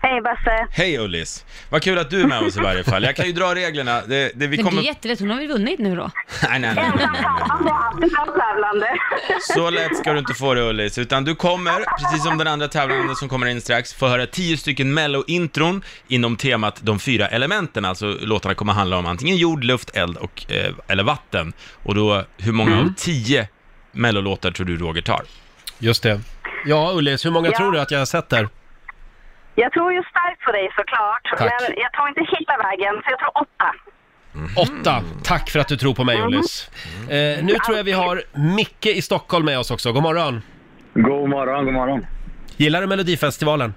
S7: Hej Basse.
S8: Hej Ullis! Vad kul att du är med oss i varje fall. Jag kan ju dra reglerna. Det, det, vi
S2: Men det
S8: kommer...
S2: är jättelätt, hon har väl vunnit nu då?
S8: Nej, nej, nej, nej, nej.
S7: Det är alltid bra tävlande.
S8: Så lätt ska du inte få det Ullis, utan du kommer, precis som den andra tävlanden som kommer in strax, få höra tio stycken mello-intron inom temat de fyra elementen. Alltså låtarna kommer handla om antingen jord, luft, eld och, eh, eller vatten. Och då, hur många
S1: Mm.
S8: av tio mellolåtar tror du Roger tar?
S1: Just det. Ja, Ullis, hur många
S7: Ja.
S1: tror du att jag har sett där?
S7: Jag tror ju starkt på dig såklart,
S1: Tack.
S7: men jag tror inte hitta vägen, så jag tror åtta.
S1: Åtta. Tack för att du tror på
S7: Mhm.
S1: mig, Ullis. Eh, nu tror jag vi har Micke i Stockholm med oss också. God morgon!
S9: God morgon, god morgon.
S1: Gillar du Melodifestivalen?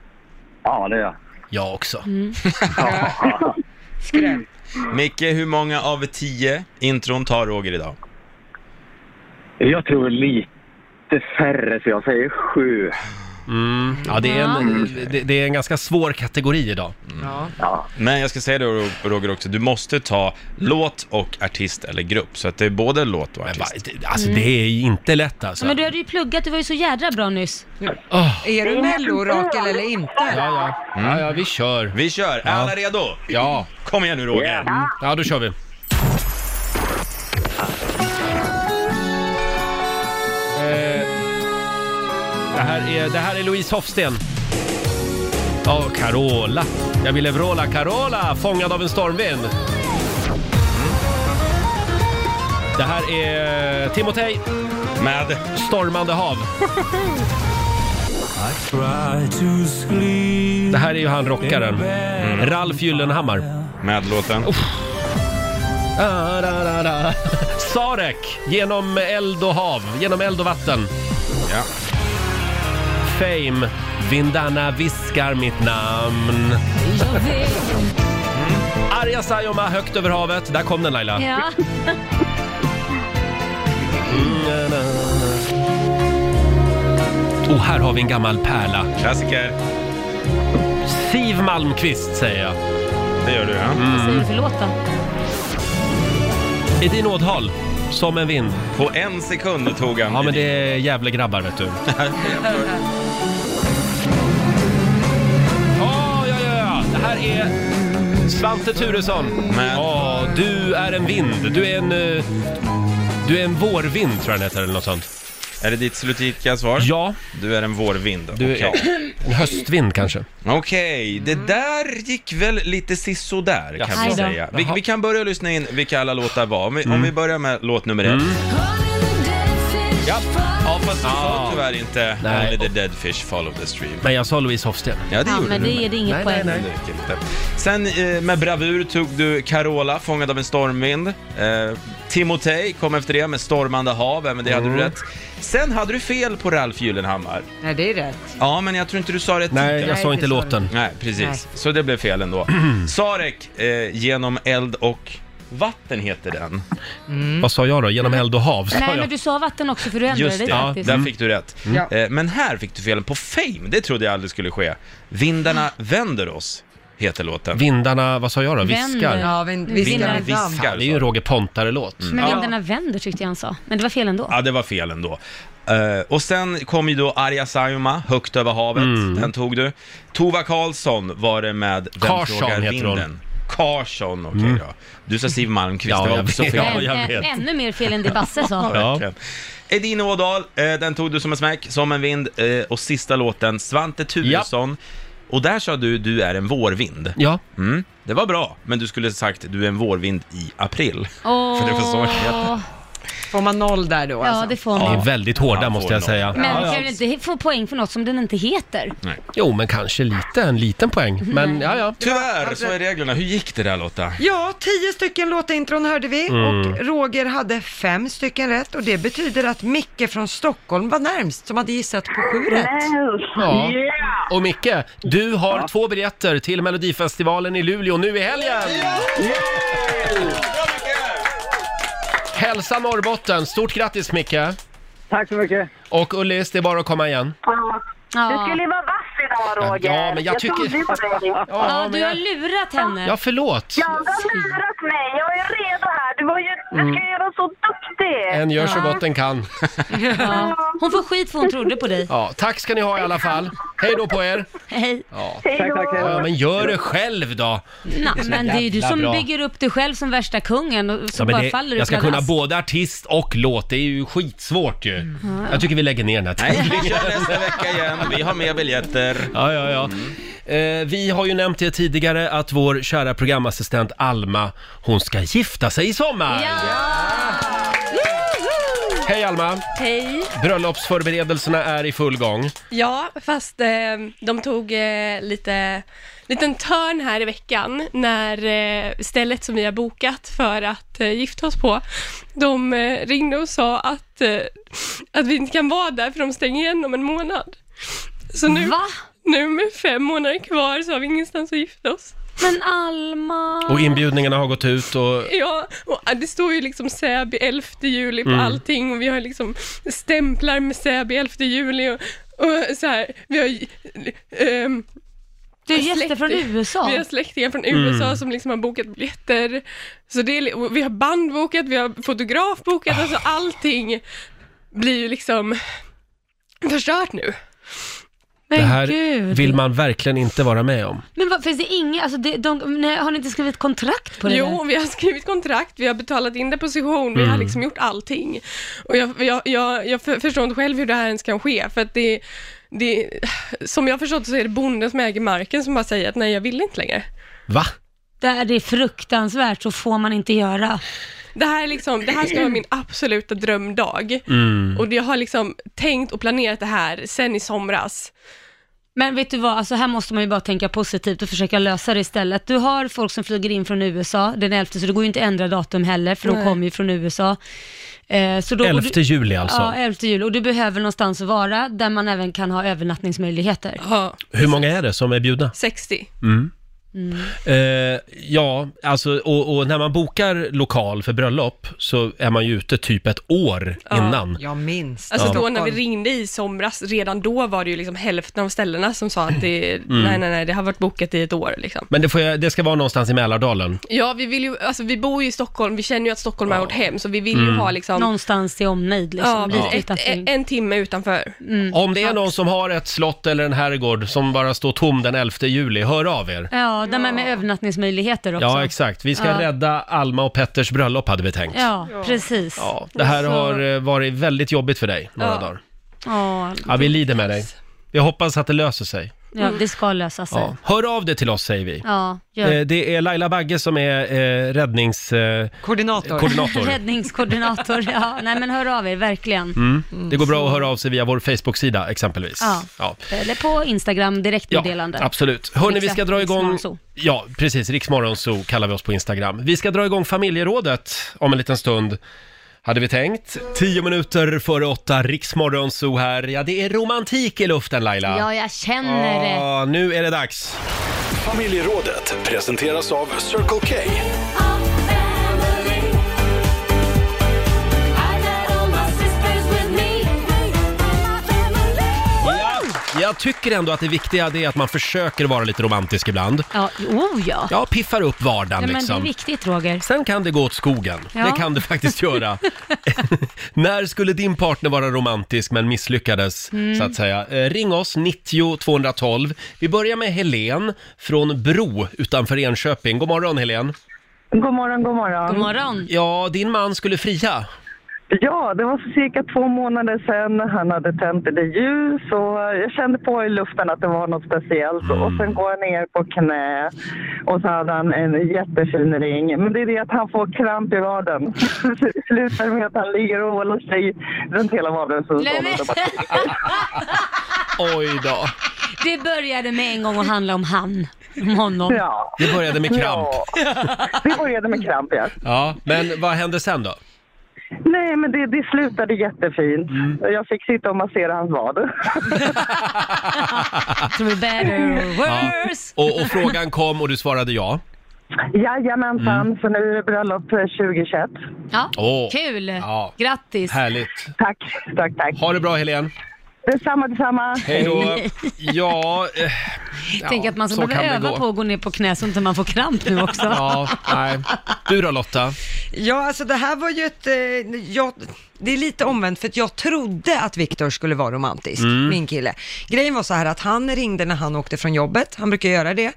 S9: Ja, det gör jag.
S1: Jag också.
S8: Micke, hur många av tio intron tar Roger idag?
S9: Jag tror lite färre, så jag säger sju.
S1: Mm. Ja, det är,
S9: Mm.
S1: en, det, det är en ganska svår kategori idag.
S4: Ja.
S8: Men jag ska säga det Ro- Roger också, du måste ta låt och artist eller grupp, så att det är både låt och
S1: Men va,
S8: artist.
S1: det- alltså det är ju inte lätt alltså.
S2: Men du hade ju pluggat, du var ju så jädra bra nyss.
S4: Är du mellorakel eller inte?
S1: Ja, ja. ja, ja, vi kör.
S8: Mm. Vi kör, är alla redo?
S1: Ja, Mm.
S8: Kom igen nu Roger!
S1: ja då kör vi. Eh, Det här är, det här är Louise Hofsten. Ja, Carola. Jag ville vråla Carola, fångad av en stormvind. Mm. Det här är Timotej,
S8: Med
S1: Stormande hav. Det här är ju han rockaren, Ralf Gyllenhammar.
S8: Med låten.
S1: Ah, da, da, da. Sarek, genom eld och hav, genom eld och vatten.
S8: Ja.
S1: Fame, vindarna viskar mitt namn. Arja Saijonmaa, högt över havet. Där kom den Laila.
S2: Ja.
S1: Mm, Och här har vi en gammal pärla.
S8: Klassiker.
S1: Siv Malmqvist säger jag. Mm.
S8: Det gör du ja.
S2: Vad säger du för låt då?
S1: I din ådhal, som en vind.
S8: På en sekund tog han.
S1: Ja men det är jävla grabbar vet du. Ja, ja, ja, ja. Det här är Svante Thuresson.
S8: Men-
S1: Ja, du är en vind. Du är en... eh, Du är en vårvind tror jag den heter eller något sånt.
S8: Är det ditt slutgiltiga svar?
S1: Ja,
S8: Du är en vårvind.
S1: du
S8: Okej.
S1: en höstvind kanske.
S8: Okej, det där gick väl lite sisådär kan
S1: Jaså.
S8: vi säga. Vi,
S1: Jaha.
S8: vi kan börja lyssna in vilka alla låtar var. Om vi, om vi börjar med låt nummer ett. Ja, ja fast du sa tyvärr inte
S1: Ah. Nej.
S8: Only the dead fish follow the stream.
S1: Men jag sa Louise Hofsten.
S8: Ja, det
S2: Ja,
S8: gjorde
S2: men
S8: du.
S2: det är det inget
S1: Nej,
S2: poäng.
S1: nej, nej.
S8: Det räcker inte. Sen eh, med bravur tog du Carola, Fångad av en stormvind. Eh, Timotej kom efter det med Stormande hav, även det hade du rätt. Sen hade du fel på Ralf Gyllenhammar.
S4: Nej, det är rätt.
S8: Ja, men jag tror inte du sa rätt
S1: Nej,
S8: titel.
S1: jag sa
S4: det
S1: inte
S4: sa du.
S1: låten.
S8: Nej, precis.
S4: Nej.
S8: Så det blev fel ändå. Sarek, eh, genom eld och vatten heter den.
S1: Vad sa jag då? Genom eld och hav sa
S2: Mm.
S1: jag.
S2: Nej,
S1: Mm.
S2: men du sa vatten också för du ändrade
S8: Just
S2: dig
S8: det, ja,
S2: faktiskt.
S8: där fick du rätt.
S4: Ja.
S8: Eh, men här fick du fel på Fame, det trodde jag aldrig skulle ske.
S2: Mm.
S8: Vindarna vänder oss, heter låten.
S1: Vind- Vindarna, vad sa jag då? Viskar?
S2: Vänder.
S4: Ja, vi, vi
S2: Vindarna
S4: vinner ett namn.
S1: Ja, det är ju en Roger Pontare-låt.
S2: Men vindarna vänder tyckte jag han sa. Men det var fel ändå.
S8: Ja, det var fel ändå. Eh, och sen kom ju då Arja Saijonmaa, Högt över havet,
S1: Mm.
S8: den tog du. Tova Karlsson var det med Vem
S1: Karlsson
S8: frågar
S1: heter hon. Mm.
S8: vinden? Karlsson, okej då. Du sa Siw Malmkvist,
S1: Ja,
S8: det var
S1: jag
S8: också
S1: vet.
S8: fel.
S1: Ja, jag
S2: Ä-
S1: vet.
S2: ä- eh, ännu mer fel än det Basse sa.
S1: Ja.
S8: verkligen. Edin Ådahl, eh, den tog du som en smäck, som en vind. Eh, och sista låten, Svante Thuresson. Och där sa du, du är en vårvind.
S1: Ja,
S8: Mm, det var bra, men du skulle sagt, du är en vårvind i april.
S2: Åh,
S8: För det var så jag
S4: Får man noll där då?
S2: ja
S4: alltså?
S2: det får
S1: ni är
S2: man.
S1: väldigt hårda
S8: Ja,
S1: måste jag
S8: får
S1: säga.
S8: nog.
S2: Men kan väl inte få poäng för något som den inte heter?
S1: Jo, men kanske lite. En liten poäng. Men ja, ja.
S8: Tyvärr, så är reglerna. Hur gick det där Lotta?
S4: Ja, tio stycken låtintron hörde vi och Roger hade fem stycken rätt och det betyder att Micke från Stockholm var närmst som hade gissat på sju rätt.
S1: Ja.
S7: Yeah!
S1: Och Micke, du har två biljetter till Melodifestivalen i Luleå nu i helgen! Hälsa Norrbotten! Stort grattis Micke!
S9: Tack så mycket.
S1: Och Ullis, det är bara att komma igen.
S7: Du
S2: Ja.
S7: skulle ju vara vass idag Roger.
S1: Ja, men jag tycker-
S7: trodde ju på dig.
S2: Ja,
S1: men
S2: du har
S1: jag...
S2: lurat henne.
S1: Ja, förlåt.
S7: Ja, du har lurat mig. Jag är redo här. Du, var ju, du ska ju vara så duktig.
S1: Mm. En gör så gott en kan.
S2: Ja. Hon får skit för hon trodde på dig.
S1: Ja, tack ska ni ha i alla fall. Hej då på er!
S2: Hej.
S7: Hej då.
S1: Ja, men gör det själv då!
S2: Nå, men det är ju du
S1: jävla
S2: som
S1: bra.
S2: bygger upp dig själv som värsta kungen och så
S1: Ja, men
S2: bara
S1: det,
S2: faller du
S1: jag ska kunna
S2: pladask.
S1: både artist och låt. Det är ju skitsvårt ju.
S2: Mm.
S1: Jag tycker vi lägger ner den här tävlingen.
S8: Nej, vi kör nästa vecka igen. Vi har mer biljetter. Mm.
S1: Ja, ja, ja. Eh, vi har ju nämnt det tidigare att vår kära programassistent Alma, hon ska gifta sig i sommar!
S2: Ja! Woho!
S1: Hej Alma!
S10: Hej!
S1: Bröllopsförberedelserna är i full gång.
S10: Ja, fast eh, de tog eh, lite liten törn här i veckan när eh, stället som vi har bokat för att eh, gifta oss på, de eh, ringde och sa att, eh, att vi inte kan vara där för de stänger igen om en månad. Så nu,
S2: Va?
S10: nu med fem månader kvar så har vi ingenstans att gifta oss.
S2: Men Alma...
S1: Och inbjudningarna har gått ut och...
S10: Ja, och det står ju liksom Säby 11 juli
S1: Mm.
S10: på allting och vi har liksom stämplar med Säby 11 juli och, och så här, vi har ehm,
S2: du är gäster
S10: släkt-
S2: från USA.
S10: Vi har släktingar från USA
S1: Mm.
S10: som liksom har bokat biljetter. Så det är, li- och vi har band bokat, vi har fotograf bokat, alltså
S1: Ah.
S10: allting blir ju liksom förstört nu.
S1: Det
S2: Men
S1: här
S2: gud.
S1: vill man verkligen inte vara med om.
S2: Men vad, finns det inga, alltså det, de, nej, har ni inte skrivit kontrakt på det
S10: Jo,
S2: där?
S10: vi har skrivit kontrakt, vi har betalat in deposition, vi har liksom gjort allting. Och jag, jag, jag, jag för, förstår inte själv hur det här ens kan ske, för att det, det, som jag har förstått så är det bonden som äger marken som bara säger att nej, jag vill inte längre.
S1: Va?
S2: Det är, det är fruktansvärt, så får man inte göra.
S10: Det här, är liksom, det här ska vara min absoluta drömdag.
S2: Mm.
S10: Och jag har liksom tänkt och planerat det här sen i somras.
S2: Men vet du vad, alltså här måste man ju bara tänka positivt och försöka lösa det istället. Du har folk som flyger in från USA den 11, så det går ju inte att ändra datum heller, för de
S10: Nej.
S2: kommer ju från USA. Eh, så då- och
S1: 11 juli alltså.
S2: Ja, 11 juli. Och du behöver någonstans att vara, där man även kan ha övernattningsmöjligheter.
S10: Ja,
S1: Hur många är det som är bjudna?
S10: 60.
S1: Mm.
S2: Mm.
S1: Eh, ja, alltså, och, och när man bokar lokal för bröllop så är man ju ute typ ett år innan.
S4: Ja, minst.
S10: Alltså
S1: Ja.
S10: då när vi ringde i somras, redan då var det ju liksom hälften av ställena som sa att det,
S1: Mm.
S10: nej, nej, nej, det har varit bokat i ett år liksom.
S1: Men det, får jag, det ska vara någonstans i Mälardalen.
S10: Ja, vi vill ju, alltså vi bor ju i Stockholm, vi känner ju att Stockholm är vårt hem, så vi vill ju
S1: Mm.
S10: ha liksom...
S2: Någonstans i omnejd
S10: liksom. Ja,
S1: Ja.
S10: Ett, en, en timme utanför.
S1: Om det är någon som har ett slott eller en herrgård som bara står tom den 11 juli, hör av er.
S2: Ja, där man med övernattningsmöjligheter också.
S1: Ja, exakt. Vi ska
S2: Ja.
S1: rädda Alma och Petters bröllop hade vi tänkt.
S2: Ja, precis.
S1: Ja, Det här
S2: Så-
S1: har eh, varit väldigt jobbigt för dig några
S2: Alltså- Ja.
S1: dagar.
S2: Ja,
S1: Ja, vi lider med dig. Jag hoppas att det löser sig.
S2: ja, det ska lösa sig.
S1: Ja. Hör av dig till oss säger vi.
S2: Ja, gör
S1: Eh, Det är Laila Bagge som är eh, räddnings... Eh,
S4: koordinator.
S1: koordinator.
S2: Räddningskoordinator, ja. Nej men hör av er, verkligen.
S1: Mm. Det går bra att höra av sig via vår Facebook-sida exempelvis.
S2: Ja. Eller på Instagram, direktmeddelande.
S1: absolut. Hörni, vi
S2: Exakt,
S1: ska dra igång...
S2: Riksmorgonzoo.
S1: Ja, precis. Riksmorgonzoo kallar vi oss på Instagram. Vi ska dra igång familjerådet om en liten stund. Hade vi tänkt. Tio minuter före åtta, Riksmorgonzoo här. Ja, det är romantik i luften Laila.
S2: Ja, jag känner det.
S1: Ja, nu är det dags.
S5: Familjerådet presenteras av Circle K.
S1: Ja, jag tycker ändå att det viktiga det är att man försöker vara lite romantisk ibland.
S2: Ja, oh ja.
S1: Ja, piffar upp
S2: Ja,
S1: vardagen
S2: men det
S1: liksom.
S2: är viktigt Roger.
S1: Sen kan det gå åt skogen.
S2: Ja.
S1: Det kan det faktiskt göra. När skulle din partner vara romantisk men misslyckades,
S2: Mm.
S1: så att säga? Eh, ring oss, 90 212. Vi börjar med Helen från Bro utanför Enköping. God morgon, Helen.
S7: God morgon, god morgon.
S2: God morgon.
S1: Ja, din man skulle fria.
S7: Ja, det var cirka två månader sedan. Han hade tänt det ljus och jag kände på i luften att det var något speciellt. Och sen går jag ner på knä och så hade han en jättefin ring. Men det är det att han får kramp i vaden. Så det Slutar med att han ligger och håller sig runt hela vaden. Så
S2: Nej, men-
S1: Oj då.
S2: Det började med en gång att handla om han, om honom.
S7: Ja.
S1: Det började med kramp.
S7: Det började med kramp, ja.
S1: Ja, men vad hände sen då?
S7: Nej, men det, det slutade jättefint.
S2: Mm.
S7: Jag fick sitta och massera hans vad.
S2: Through better or
S1: Ja.
S2: worse.
S1: Och, och frågan kom och du svarade ja.
S7: Jajamensan, så nu är det bröllop eh, 2021.
S2: Ja,
S1: Åh.
S2: kul.
S1: Ja.
S2: Grattis.
S1: Härligt.
S7: Tack, tack, tack.
S1: Ha det bra, Helen.
S7: Detsamma, detsamma.
S1: Hej då. Ja, eh,
S2: Tänk
S1: ja,
S2: att man
S1: så
S2: ska behöva
S1: kan det
S2: öva
S1: gå.
S2: på att gå ner på knä så inte man får kramp nu också.
S1: Ja, nej. Du då Lotta?
S4: Ja, alltså det här var ju ett... Eh, jag, det är lite omvänt för att jag trodde att Viktor skulle vara romantisk,
S6: Mm.
S4: min kille. Grejen var så här att han ringde när han åkte från jobbet, han brukar göra det.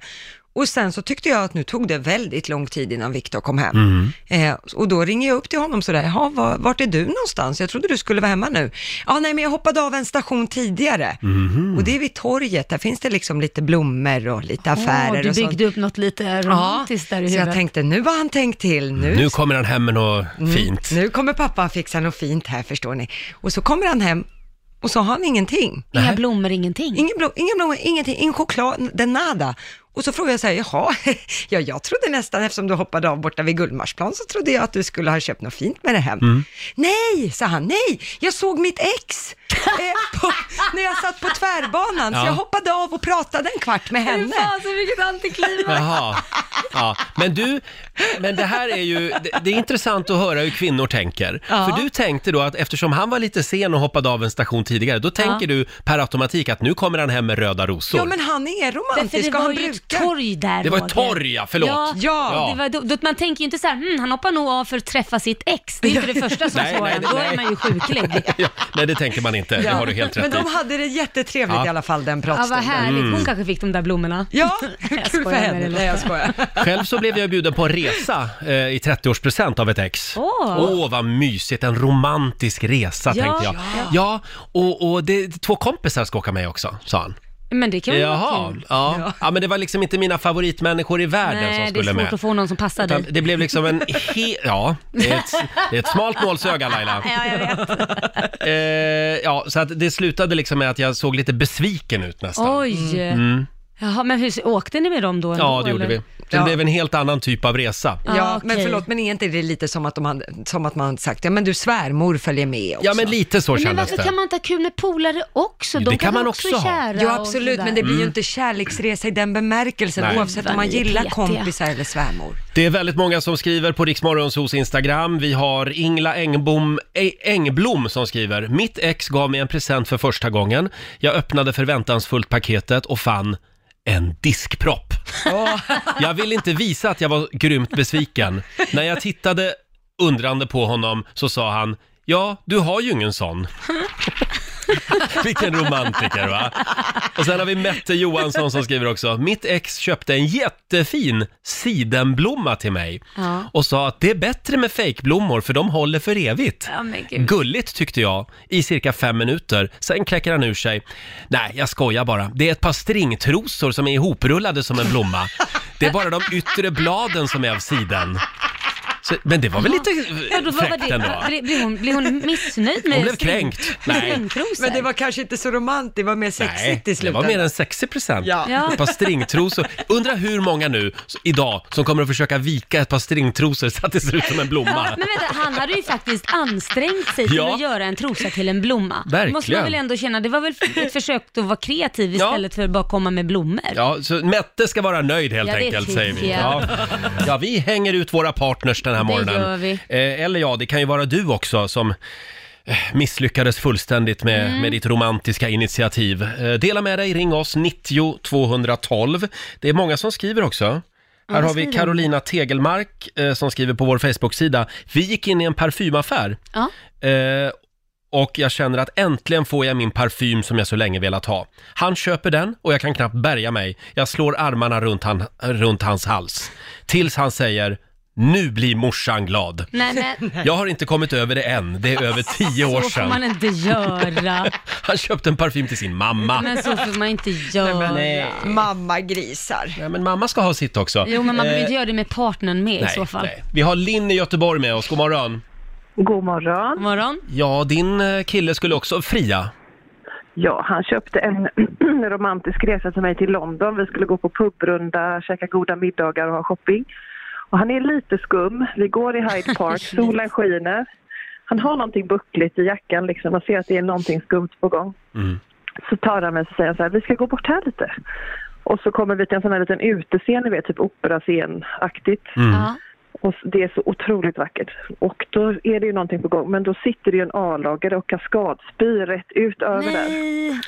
S4: Och sen så tyckte jag att nu tog det väldigt lång tid innan Viktor kom hem.
S6: Mm.
S1: Mm.
S4: Eh, och då ringer jag upp till honom sådär, jaha, var, vart är du någonstans? Jag trodde du skulle vara hemma nu. Ja, nej, men jag hoppade av en station tidigare. Och det är vid torget, där finns det liksom lite blommor och lite affärer
S2: Mhm. Åh, du
S4: och sånt.
S2: byggde upp något lite romantiskt där i
S4: så jag
S2: huvudet.
S4: tänkte, nu har han tänkt till. Nu,
S1: Nu kommer han hem med något fint.
S4: Mm, nu kommer pappa fixa något fint här förstår ni. Och så kommer han hem och så har han ingenting.
S2: Inga blommor, ingenting.
S4: Ingen blom, inga blommor, ingenting, ingen choklad, den nada. Och så frågar jag så här, jaha, ja, jag trodde nästan eftersom du hoppade av borta vid Gullmarsplan så trodde jag att du skulle ha köpt något fint med det hem.
S1: Mm.
S4: Nej, sa han, nej, jag såg mitt ex eh, på, när jag satt på tvärbanan
S1: Ja.
S4: så jag hoppade av och pratade en kvart med henne.
S2: Alltså vilket antiklimax.
S1: Jaha. Ja. Men du, men det här är ju, det, det är intressant att höra hur kvinnor tänker.
S2: Ja.
S1: För du tänkte då att eftersom han var lite sen och hoppade av en station tidigare, då tänker du per automatik att nu kommer han hem med röda rosor.
S4: Ja men han är
S2: Därför det
S4: romantisk och
S2: var
S4: han
S2: ju ett
S4: brukar
S2: torg där
S1: Det var ett
S2: Roger.
S1: torg, ja, förlåt.
S2: Ja,
S1: Ja.
S2: Det var, då, då, man tänker ju inte så här, hm, han hoppar nog av för att träffa sitt ex. Det är inte det första som
S1: Nej,
S2: slår
S1: nej,
S2: en. Då
S1: nej.
S2: är man ju sjuklig.
S1: Ja, nej, det tänker man inte. Det
S4: Ja.
S1: har du helt
S4: Men
S1: rätt i.
S4: de hade det jättetrevligt
S1: Ja.
S4: i alla fall, den
S2: Ja, vad
S4: pratstunden.
S2: härligt. Hon
S1: Mm.
S2: kanske fick de där blommorna.
S4: Ja,
S2: jag
S4: kul för
S2: skojar med
S4: henne.
S2: dig, Lotta.
S4: Nej, jag skojar.
S1: Själv så blev jag bjuden på en resa eh, i 30-årspresent av ett ex.
S2: Åh.
S1: Åh, vad mysigt. En romantisk resa,
S2: Ja,
S1: tänkte jag.
S2: ja.
S1: Ja, och, och det, två kompisar ska åka med också, sa han.
S2: Men det kan väl vara
S1: Jaha,
S2: kul?
S1: ja. ja. Men det var liksom inte mina favoritmänniskor i världen som
S2: Nej, det är
S1: skulle
S2: svårt
S1: med.
S2: att få någon som passar
S1: Utan
S2: dig.
S1: det blev liksom en he- Ja, det är ett, det är ett smalt nålsöga Laila.
S2: Ja, jag vet.
S1: Eh, ja, så att det slutade liksom med att jag såg lite besviken ut nästan.
S2: Oj.
S1: Mm.
S2: Jaha, men hur, åkte ni med dem då?
S1: Ja,
S2: ändå,
S1: det gjorde
S2: eller?
S1: vi. Det blev en helt annan typ av resa.
S4: Ja,
S2: Ja,
S4: men
S2: Ah, okej.
S4: förlåt, men är inte det lite som att, de hade, som att man hade sagt, ja men du svärmor följer med också?
S1: Ja, men lite så
S2: Men
S1: kändes
S2: varför
S1: det.
S2: kan man inte ha kul med polare också? Mm.
S1: Jo,
S2: De
S1: det kan man
S2: väl
S1: också
S2: vara
S1: ha.
S2: kära
S4: Jo
S2: och
S4: absolut,
S2: sådär.
S4: men det blir ju inte kärleksresa i den bemärkelsen
S1: Nej.
S4: oavsett om
S2: Vad
S4: man
S2: ni är
S4: gillar
S2: petiga.
S4: kompisar eller svärmor.
S1: Det är väldigt många som skriver på Riksmorgonsos Instagram. Vi har Ingla Engbom, Ä- Engblom som skriver. Mitt ex gav mig en present för första gången. Jag öppnade förväntansfullt paketet och fann en diskpropp. Jag ville inte visa att jag var grymt besviken. När jag tittade undrande på honom så sa han Ja, du har ju ingen sån. Vilken romantiker va? Och sen har vi Mette Johansson som skriver också. Mitt ex köpte en jättefin sidenblomma till mig
S2: Ja.
S1: och sa att det är bättre med fejkblommor för de håller för evigt.
S2: Ja, men gud.
S1: Gulligt tyckte jag i cirka fem minuter. Sen kläcker han ur sig. Nej, jag skojar bara. Det är ett par stringtrosor som är ihoprullade som en blomma. Det är bara de yttre bladen som är av siden. Så, men det var väl lite
S2: Ja, då
S1: eh,
S2: var var
S1: fräckt ändå?
S2: det, blir, blir, hon, blir hon missnöjd med
S1: Hon blev
S2: string-
S1: kränkt.
S2: med
S1: Nej.
S2: stringtrosor?
S4: Men det var kanske inte så romantiskt, det var mer sexigt
S1: Nej,
S4: i
S1: det var
S4: slutändan.
S1: mer en sexig present.
S4: Ja.
S2: Ja.
S1: Ett par stringtrosor. Undrar hur många nu s- idag som kommer att försöka vika ett par stringtrosor så att det ser ut som en
S2: Ja,
S1: blomma.
S2: men vänta, han hade ju faktiskt ansträngt sig till
S1: Ja.
S2: att göra en trosa till en blomma.
S1: Verkligen.
S2: måste man väl ändå känna, det var väl ett försök att vara kreativ
S1: Ja.
S2: istället för att bara komma med blommor.
S1: Ja, så Mette ska vara nöjd helt
S2: Ja, det
S1: enkelt,
S2: tycker
S1: säger vi.
S2: jag.
S1: Ja. ja, vi hänger ut våra partners den här
S2: Det
S1: morgonen.
S2: gör vi.
S1: Eh, Eller ja, det kan ju vara du också som eh, misslyckades fullständigt med,
S2: Mm.
S1: med ditt romantiska initiativ. Eh, Dela med dig, ring oss 90 212. Det är många som skriver också. Här
S2: vad
S1: har vi
S2: skriver de?
S1: Carolina Tegelmark eh, som skriver på vår Facebook-sida. Vi gick in i en parfymaffär
S2: Ja.
S1: Eh, och jag känner att äntligen får jag min parfym som jag så länge velat ha. Han köper den och jag kan knappt bärga mig. Jag slår armarna runt, han, runt hans hals. Tills han säger nu blir morsan glad.
S2: Nej, men
S1: Jag har inte kommit över det än. Det är över tio år
S2: så får
S1: sedan.
S2: man inte göra.
S1: Han köpte en parfym till sin mamma.
S2: Men så får man inte göra.
S4: Mamma grisar.
S1: Nej, men mamma ska ha sitt också.
S2: Jo, men man behöver
S1: Eh,
S2: inte göra det med partnern med i
S1: nej,
S2: så fall.
S1: nej. Vi har Linn i Göteborg med oss. God morgon.
S11: God morgon.
S2: God morgon.
S1: Ja, din eh, kille skulle också fria.
S11: Ja, han köpte en romantisk resa till mig till London. Vi skulle gå på pubrunda, käka goda middagar och ha shopping. Och han är lite skum. Vi går i Hyde Park, solen skiner. Han har någonting buckligt i jackan liksom. Man ser att det är någonting skumt på gång.
S1: Mm.
S11: Så tar han mig och säger så här, vi ska gå bort här lite. Och så kommer vi till en sån här liten utescen, ni vet, typ operascen-aktigt.
S1: Mm.
S2: Ja.
S11: Och det är så otroligt vackert. Och då är det ju någonting på gång. Men då sitter det ju en A-lagare och kaskadspyr rätt ut över där.
S2: Nej.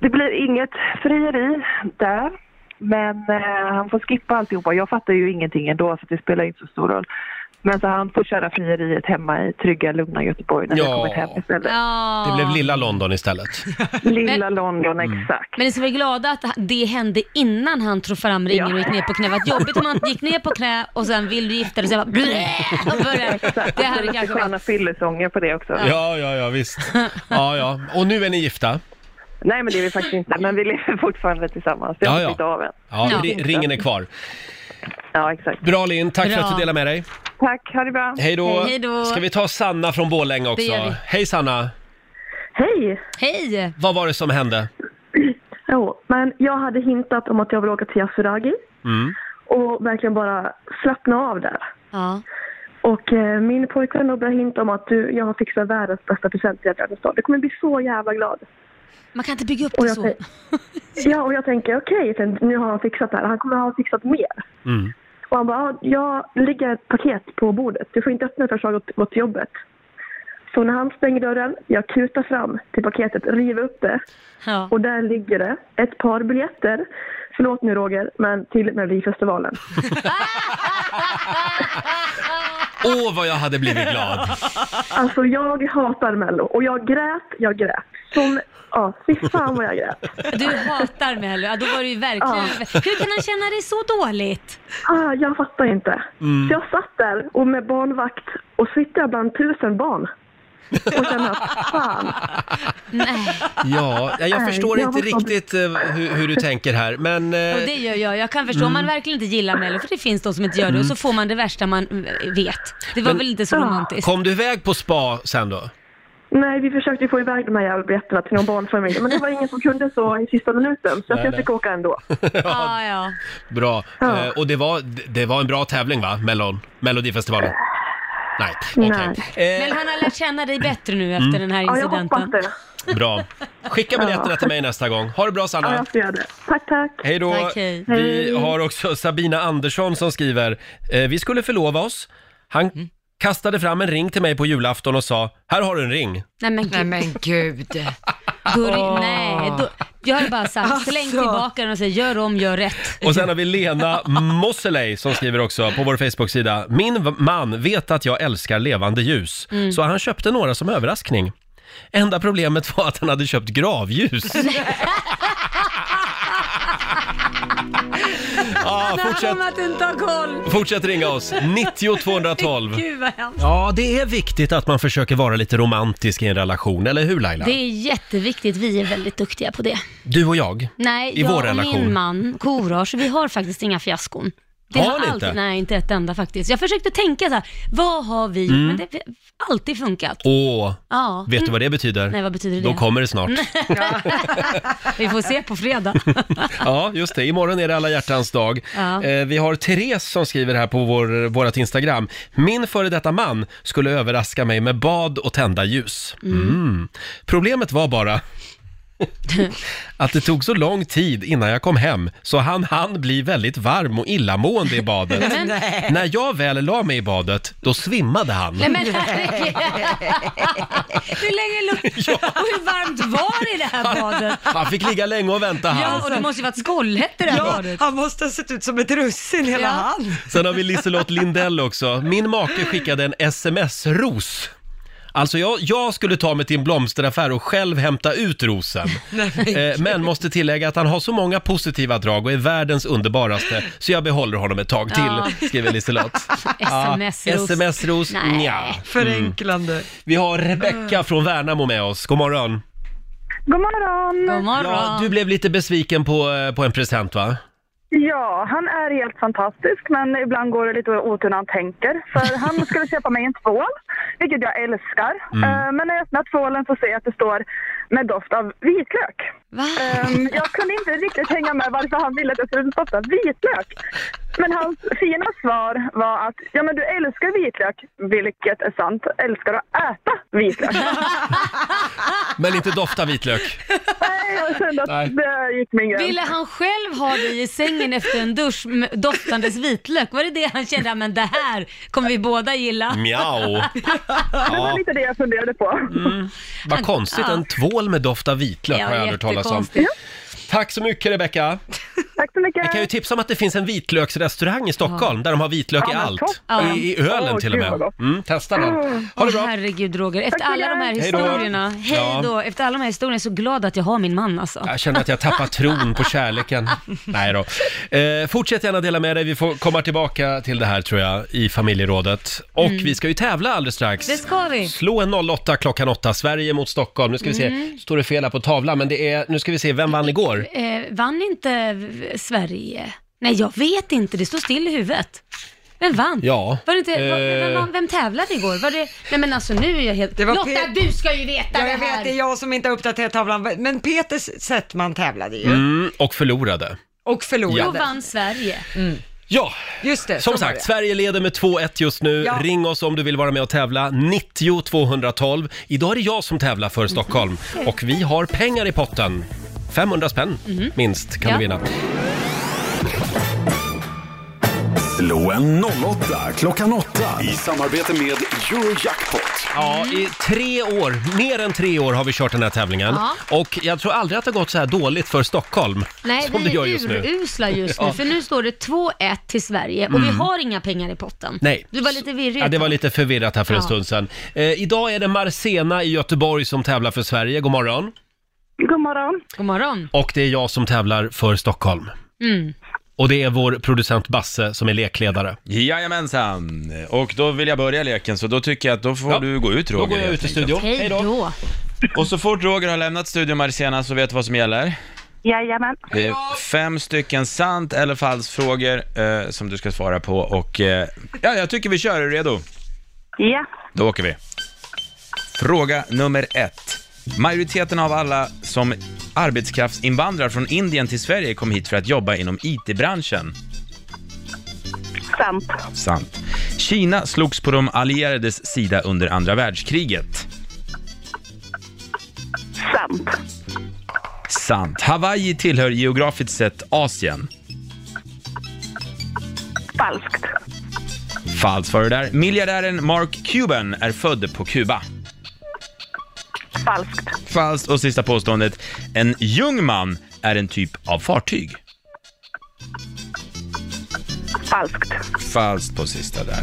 S11: Det blir inget frieri där. Men eh, han får skippa alltihopa. Jag fattar ju ingenting ändå så det spelar inte så stor roll. Men så han får köra frieriet hemma i trygga, lugna Göteborg när
S1: Ja.
S11: vi kommit hem istället.
S2: Ja.
S1: Det blev lilla London istället.
S11: Lilla London,
S1: Mm.
S11: exakt.
S2: Men ni ska vara glada att det hände innan han tog fram ringen och gick ner på knä. Vad jobbigt om han gick ner på knä och sen vill du gifta dig och sen bara blä, och börjar. Det
S11: Så
S2: här är
S11: Alltså, lite
S2: kanske
S11: sköna
S2: varit...
S11: fyllesånger på det också.
S1: Ja, ja, ja, visst. Ja, ja. Och nu är ni gifta?
S11: Nej, men det är vi faktiskt inte. Men vi lever fortfarande tillsammans. Jag
S1: Ja,
S11: har
S1: ja.
S11: inte blivit av än.
S1: Ja,
S2: Ja.
S1: ri- ringen är kvar.
S11: Ja, exakt.
S1: Bra Linn, tack för
S2: Bra.
S1: att du delar med dig.
S11: Tack, ha det bra.
S1: Hej då.
S2: Hej då.
S1: Ska vi ta Sanna från Borlänge
S2: Det gör
S1: också?
S2: vi.
S1: Hej Sanna,
S12: Hej!
S2: Hej!
S1: vad var det som hände?
S12: Jo, men jag hade hintat om att jag vill åka till Yasuragi
S1: Mm.
S12: och verkligen bara slappna av där.
S2: Ja.
S12: Och eh, min pojkvän då började hinta om att du, jag har fixat världens bästa present till hjärtat Du kommer bli så jävla glad.
S2: Man kan inte bygga upp
S12: Och
S2: det
S12: jag,
S2: så.
S12: tänk- ja, och jag tänker okej, sen nu har han fixat det här. Han kommer ha fixat mer.
S1: Mm.
S12: Och han bara, ja, jag ligger ett paket på bordet. Du får inte öppna det förrän jag har gått- gått till jobbet. Så när han stänger dörren, jag kutar fram till paketet, river upp det.
S2: Ja.
S12: Och där ligger det ett par biljetter Förlåt nu Roger, men till Melodifestivalen.
S1: Åh, vad jag hade blivit glad!
S12: Alltså jag hatar Mello och jag grät, jag grät. Som, ja, fy fan vad jag grät.
S2: Du hatar Mello, ja, då var det ju verkligen... Hur kan han känna dig så dåligt?
S12: Ah, jag fattar inte. Så jag satt där och med barnvakt och så sitter jag bland tusen barn. Och känner att fan.
S1: Ja, jag
S2: Nej,
S1: förstår
S2: jag
S1: inte
S2: var så-
S1: riktigt eh, hur, hur du tänker här, men... eh,
S2: Och det gör jag. Jag kan förstå om
S1: Mm.
S2: man verkligen inte gillar Mello, för det finns de som inte gör det, och så
S1: Mm.
S2: får man det värsta man eh, vet. Det var
S1: men-
S2: väl inte så romantiskt?
S1: Kom du iväg på spa sen då?
S12: Nej, vi försökte ju få iväg de här jävla biljetterna till någon barnfamilj, men det var ingen som kunde så i sista minuten, så
S1: Nej,
S12: att jag
S1: nej.
S12: fick åka ändå.
S2: Ja, ja.
S1: Bra. Eh, och det var, det var en bra tävling va? Mellon, Melodifestivalen? Nej, okej. Eh.
S2: Men han har lärt känna dig bättre nu efter
S1: Mm.
S2: den här
S12: Ja, jag
S2: incidenten.
S12: hoppas det.
S1: Bra. Skicka biljetterna
S12: Ja.
S1: till mig nästa gång. Ha det bra Sanna!
S12: Ja, jag ska göra det. Tack, tack.
S1: Hej då! Vi har också Sabina Andersson som skriver, eh, vi skulle förlova oss. Han kastade fram en ring till mig på julafton och sa, här har du en ring.
S2: Nej men gud.
S4: Nej, men gud.
S2: Gurri, nej. Då, jag har bara sagt, släng
S4: Alltså.
S2: tillbaka den och säg gör om, gör rätt.
S1: Och sen har vi Lena Mosseley som skriver också på vår Facebook-sida. Min v- man vet att jag älskar levande ljus,
S2: Mm.
S1: så han köpte några som överraskning. Enda problemet var att han hade köpt gravljus. Ja, fortsätt.
S2: om att inte ha koll.
S1: Fortsätt ringa oss, 90 212.
S2: Gud vad hemskt.
S1: Ja, det är viktigt att man försöker vara lite romantisk i en relation, eller hur Laila?
S2: Det är jätteviktigt, vi är väldigt duktiga på det.
S1: Du och jag.
S2: Nej,
S1: I
S2: jag
S1: vår
S2: och
S1: relation.
S2: min man, Korosh, vi har faktiskt inga fiaskon. Vi
S1: Har ni
S2: alltid,
S1: inte?
S2: Nej, inte ett enda faktiskt. Jag försökte tänka så här, vad har vi,
S1: Mm.
S2: men det har alltid funkat.
S1: Åh,
S2: Ja.
S1: vet du vad det betyder?
S2: Nej, vad betyder det?
S1: Då kommer det snart.
S2: vi får se på fredag.
S1: Ja, just det. Imorgon är det alla hjärtans dag.
S2: Ja.
S1: Eh, vi har Therese som skriver här på vår, vårt Instagram. Min före detta man skulle överraska mig med bad och tända ljus. Mm.
S2: Mm.
S1: Problemet var bara att det tog så lång tid innan jag kom hem så han hann bli väldigt varm och illamående i badet.
S2: Men- Nej.
S1: När jag väl la mig i badet, då svimmade han.
S2: Nej men herregud. Hur länge luktade Och hur varmt var det i det här badet?
S1: Han fick ligga länge och vänta han.
S2: Ja, och det måste ju varit skållhett i det här
S4: Ja,
S2: badet.
S4: han måste ha sett ut som ett russin hela
S2: Ja.
S4: han.
S1: Sen har vi Liselott Lindell också. Min make skickade en sms-ros. Alltså jag, jag skulle ta mig till en blomsteraffär och själv hämta ut rosen.
S4: Nej,
S1: Eh, Men måste tillägga att han har så många positiva drag och är världens underbaraste, så jag behåller honom ett tag
S2: Ja.
S1: till, skriver Liselott.
S2: SMS-ros.
S1: SMS-ros,
S2: Nej.
S1: nja. Mm.
S4: Förenklande.
S1: Vi har Rebecka från Värnamo med oss, god morgon.
S7: God morgon!
S2: God
S1: Ja, du blev lite besviken på, eh, på en present va?
S7: Ja, han är helt fantastisk, men ibland går det lite otur när han tänker. För han skulle köpa mig en tvål, vilket jag älskar.
S6: Mm.
S7: Eh, Men när jag öppnar tvålen så ser jag att det står med doft av vitlök. Ehm, jag kunde inte riktigt hänga med varför han ville att jag skulle dofta vitlök. Men hans fina svar var att ja, men du älskar vitlök, vilket är sant. Älskar att äta vitlök.
S1: Men inte dofta vitlök.
S7: Nej, jag kände att
S1: Nej.
S7: det gick min gräns.
S2: Ville han själv ha dig i sängen efter en dusch med doftandes vitlök? Var det det han kände, "Ja, men det här kommer vi båda gilla?
S1: Mjau.
S7: Det var
S1: Ja.
S7: lite det jag funderade på.
S1: Vad konstigt,
S2: Mm. ja.
S1: en tvål med doft av vitlök
S2: Ja,
S1: har jag hört talas om.
S2: jättekonstigt.
S1: Tack så mycket Rebecka.
S7: Tack så mycket.
S1: Jag kan ju tipsa om att det finns en vitlöksrestaurang i Stockholm där de har vitlök
S2: Ja,
S1: i
S2: men
S1: allt.
S2: toppen.
S1: I, I ölen
S2: Åh,
S1: till och
S2: gud,
S1: med.
S2: vad gott.
S1: Mm, testa den. Ha det
S2: Åh,
S1: bra.
S2: herregud Roger, efter
S7: Tack så
S2: alla de här
S7: mycket.
S1: Hej då.
S2: historierna, hej
S1: Ja.
S2: då. Efter alla de här historierna är jag så glad att jag har min man alltså.
S1: Jag känner att jag tappar tron på kärleken. Nej då. Eh, fortsätt gärna dela med dig, vi får komma tillbaka till det här tror jag i familjerådet. Och
S2: Mm.
S1: vi ska ju tävla alldeles strax.
S2: Det ska vi.
S1: Slå en 08 klockan 8, Sverige mot Stockholm. Nu ska vi se,
S2: Mm.
S1: står det fel här på tavlan, men det är, nu ska vi se, vem vann igår?
S2: Eh, vann inte v- Sverige? Nej, jag vet inte. Det står still i huvudet. Vem vann?
S1: Ja.
S2: Var det inte, var,
S1: Eh.
S2: vem, vann- vem tävlade igår? Var det, nej men alltså nu är jag helt...
S4: Det var
S2: Lotta,
S4: Pe-
S2: du ska ju veta
S4: Ja,
S2: det
S4: jag
S2: här!
S4: vet, det är jag som inte har uppdaterat tavlan. Men Peter Settman tävlade ju
S1: Mm, och förlorade.
S4: och förlorade.
S1: Ja. Då
S2: vann Sverige.
S4: Mm.
S1: Ja,
S4: Just
S2: Eh,
S4: det.
S1: Som
S4: så var
S1: sagt,
S4: det.
S1: Sverige leder med 2-1 just nu.
S4: Ja.
S1: Ring oss om du vill vara med och tävla. 90 212. Idag är det jag som tävlar för Stockholm
S2: Mm-hmm.
S1: och vi har pengar i potten.
S2: Mm-hmm.
S1: 500 spänn minst kan
S2: Ja.
S1: du vinna.
S5: Slå en 08 klockan 8 i samarbete med Eurojackpot.
S1: Ja, i tre år, mer än tre år har vi kört den här tävlingen.
S2: Ja.
S1: Och jag tror aldrig att det har gått så här dåligt för Stockholm
S2: Nej,
S1: som det
S2: vi
S1: gör
S2: är
S1: just nu.
S2: urusla just nu,
S1: Ja.
S2: för nu står det 2-1 till Sverige och vi
S1: Mm.
S2: har inga pengar i potten.
S1: Nej.
S2: Du var lite virrig.
S1: Ja, det var lite förvirrat här för en
S2: Ja.
S1: stund sedan. Eh, idag är det Marcena i Göteborg som tävlar för Sverige. God morgon.
S7: God morgon.
S2: God morgon.
S1: Och det är jag som tävlar för Stockholm.
S2: Mm.
S1: Och det är vår producent Basse som är lekledare.
S8: Jajamensan, och då vill jag börja leken så då tycker jag att då får du gå ut Roger.
S1: går jag
S8: helt
S1: ut ur
S8: enkelt.
S1: studion. Hej då.
S8: Och så fort Roger har lämnat studion Marcena så vet du vad som gäller.
S7: Jajamän.
S8: Det är fem stycken sant eller falskt frågor eh, som du ska svara på och eh, ja, jag tycker vi kör. Är du redo?
S7: Ja.
S8: Då åker vi. Fråga nummer ett. Majoriteten av alla som arbetskraftsinvandrar från Indien till Sverige kom hit för att jobba inom IT-branschen.
S7: Sant.
S8: Sant. Kina slogs på de allierades sida under andra världskriget.
S7: Sant.
S8: Sant. Hawaii tillhör geografiskt sett Asien.
S7: Falskt.
S8: Falskt var det där. Miljardären Mark Cuban är född på Kuba.
S7: Falskt.
S8: Falskt. Och sista påståendet. En Ljungman är en typ av fartyg.
S7: Falskt.
S8: Falskt på sista där.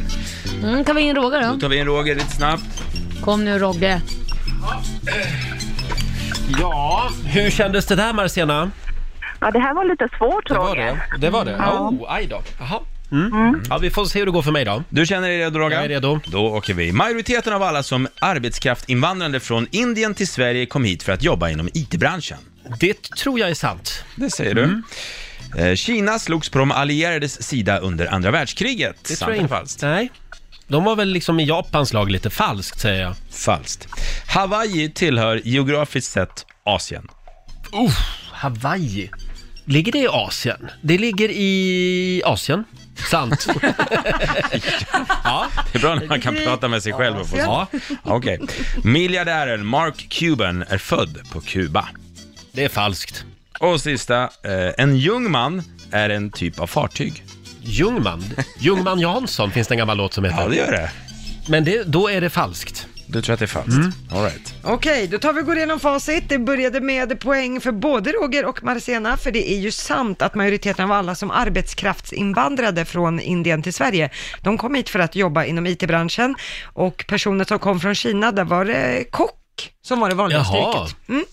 S2: Mm, kan vi in Roger
S8: Då
S2: då?
S8: tar vi in Roger lite snabbt.
S2: Kom nu Rogge.
S1: Ja. Hur kändes det där Marcena?
S7: Ja, det här var lite svårt,
S1: Det var
S7: Roger.
S1: det. Det var det?
S7: Ja.
S1: Oh, aj då. Jaha. Mm. Ja, vi får se hur det går för mig då.
S8: Du känner dig redo Roger? Jag är
S1: redo.
S8: Då åker vi. Majoriteten av alla som arbetskraftinvandrande från Indien till Sverige kom hit för att jobba inom IT-branschen.
S1: Det tror jag är sant. Mm.
S8: Det säger du. Eh, Kina slogs på de allierades sida under andra världskriget.
S1: Det
S8: Sant
S1: tror jag
S8: eller
S1: inte.
S8: falskt?
S1: Nej. De var väl liksom i Japans lag lite falskt säger jag.
S8: Falskt. Hawaii tillhör geografiskt sett Asien.
S1: Uh, Hawaii. Ligger det i Asien? Det ligger i Asien. Sant.
S8: Ja, det är bra när man kan prata med sig själv och få
S1: Ja.
S8: svar. Okej. Miljardären Mark Cuban är född på Kuba.
S1: Det är falskt.
S8: Och sista, eh, en Ljungman är en typ av fartyg.
S1: Ljungman? Ljungman Jansson finns det en gammal låt som heter.
S8: Ja, det gör det.
S1: Men det, då är det falskt. Mm.
S8: Du tror att det är falskt? All right.
S4: Okej, då tar vi och går igenom facit. Det började med poäng för både Roger och Marcena, för det är ju sant att majoriteten av alla som arbetskraftsinvandrade från Indien till Sverige, de kom hit för att jobba inom IT-branschen och personer som kom från Kina, där var det kock som var det vanligaste
S1: Jaha.
S4: yrket. Mm.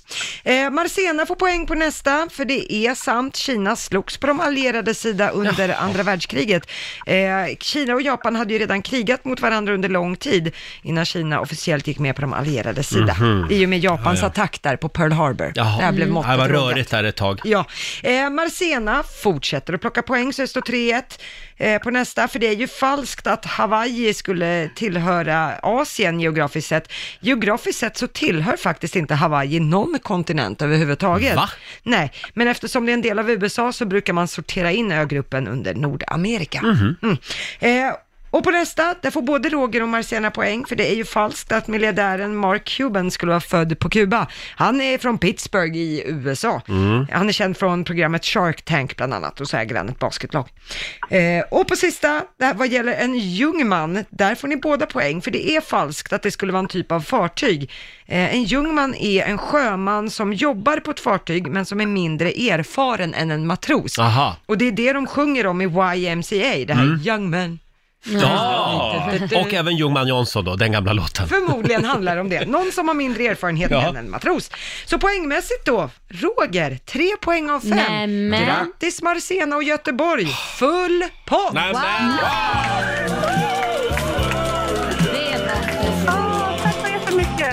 S4: Eh, Marcena får poäng på nästa, för det är sant. Kina slogs på de allierades sida under andra världskriget. Eh, Kina och Japan hade ju redan krigat mot varandra under lång tid innan Kina officiellt gick med på de allierades sida.
S1: Mhm.
S4: I och med Japans
S1: Ja, ja.
S4: attack där på Pearl Harbor.
S1: Jaha.
S4: Där blev måttet
S1: det var
S4: rågat.
S1: rörigt där ett tag.
S4: Ja, eh, Marcena fortsätter att plocka poäng så det står 3-1 eh, på nästa, för det är ju falskt att Hawaii skulle tillhöra Asien geografiskt sett. Geografiskt sett så tillhör faktiskt inte Hawaii någon kontinent överhuvudtaget.
S1: Va?
S4: Nej, men eftersom det är en del av USA så brukar man sortera in ögruppen under Nordamerika.
S1: Mhm.
S4: Mm. Eh, och på nästa, där får både Roger och Marcena poäng, för det är ju falskt att miljardären Mark Cuban skulle vara född på Kuba. Han är från Pittsburgh i USA.
S6: Mm.
S4: Han är känd från programmet Shark Tank bland annat och så äger han ett basketlag. Eh, och på sista, det här vad gäller en Ljungman, där får ni båda poäng för det är falskt att det skulle vara en typ av fartyg. Eh, en Ljungman är en sjöman som jobbar på ett fartyg men som är mindre erfaren än en matros.
S1: Aha.
S4: Och det är det de sjunger om i YMCA, det här
S1: Mm.
S4: Young Men.
S1: Ja! Och även Ljungman Jansson då, den gamla låten.
S4: Förmodligen handlar det om det. Någon som har mindre erfarenhet
S1: Ja.
S4: än en matros. Så poängmässigt då, Roger, tre poäng av fem.
S2: Nämen.
S4: Grattis Marcena och Göteborg, full pott!
S1: Nämen.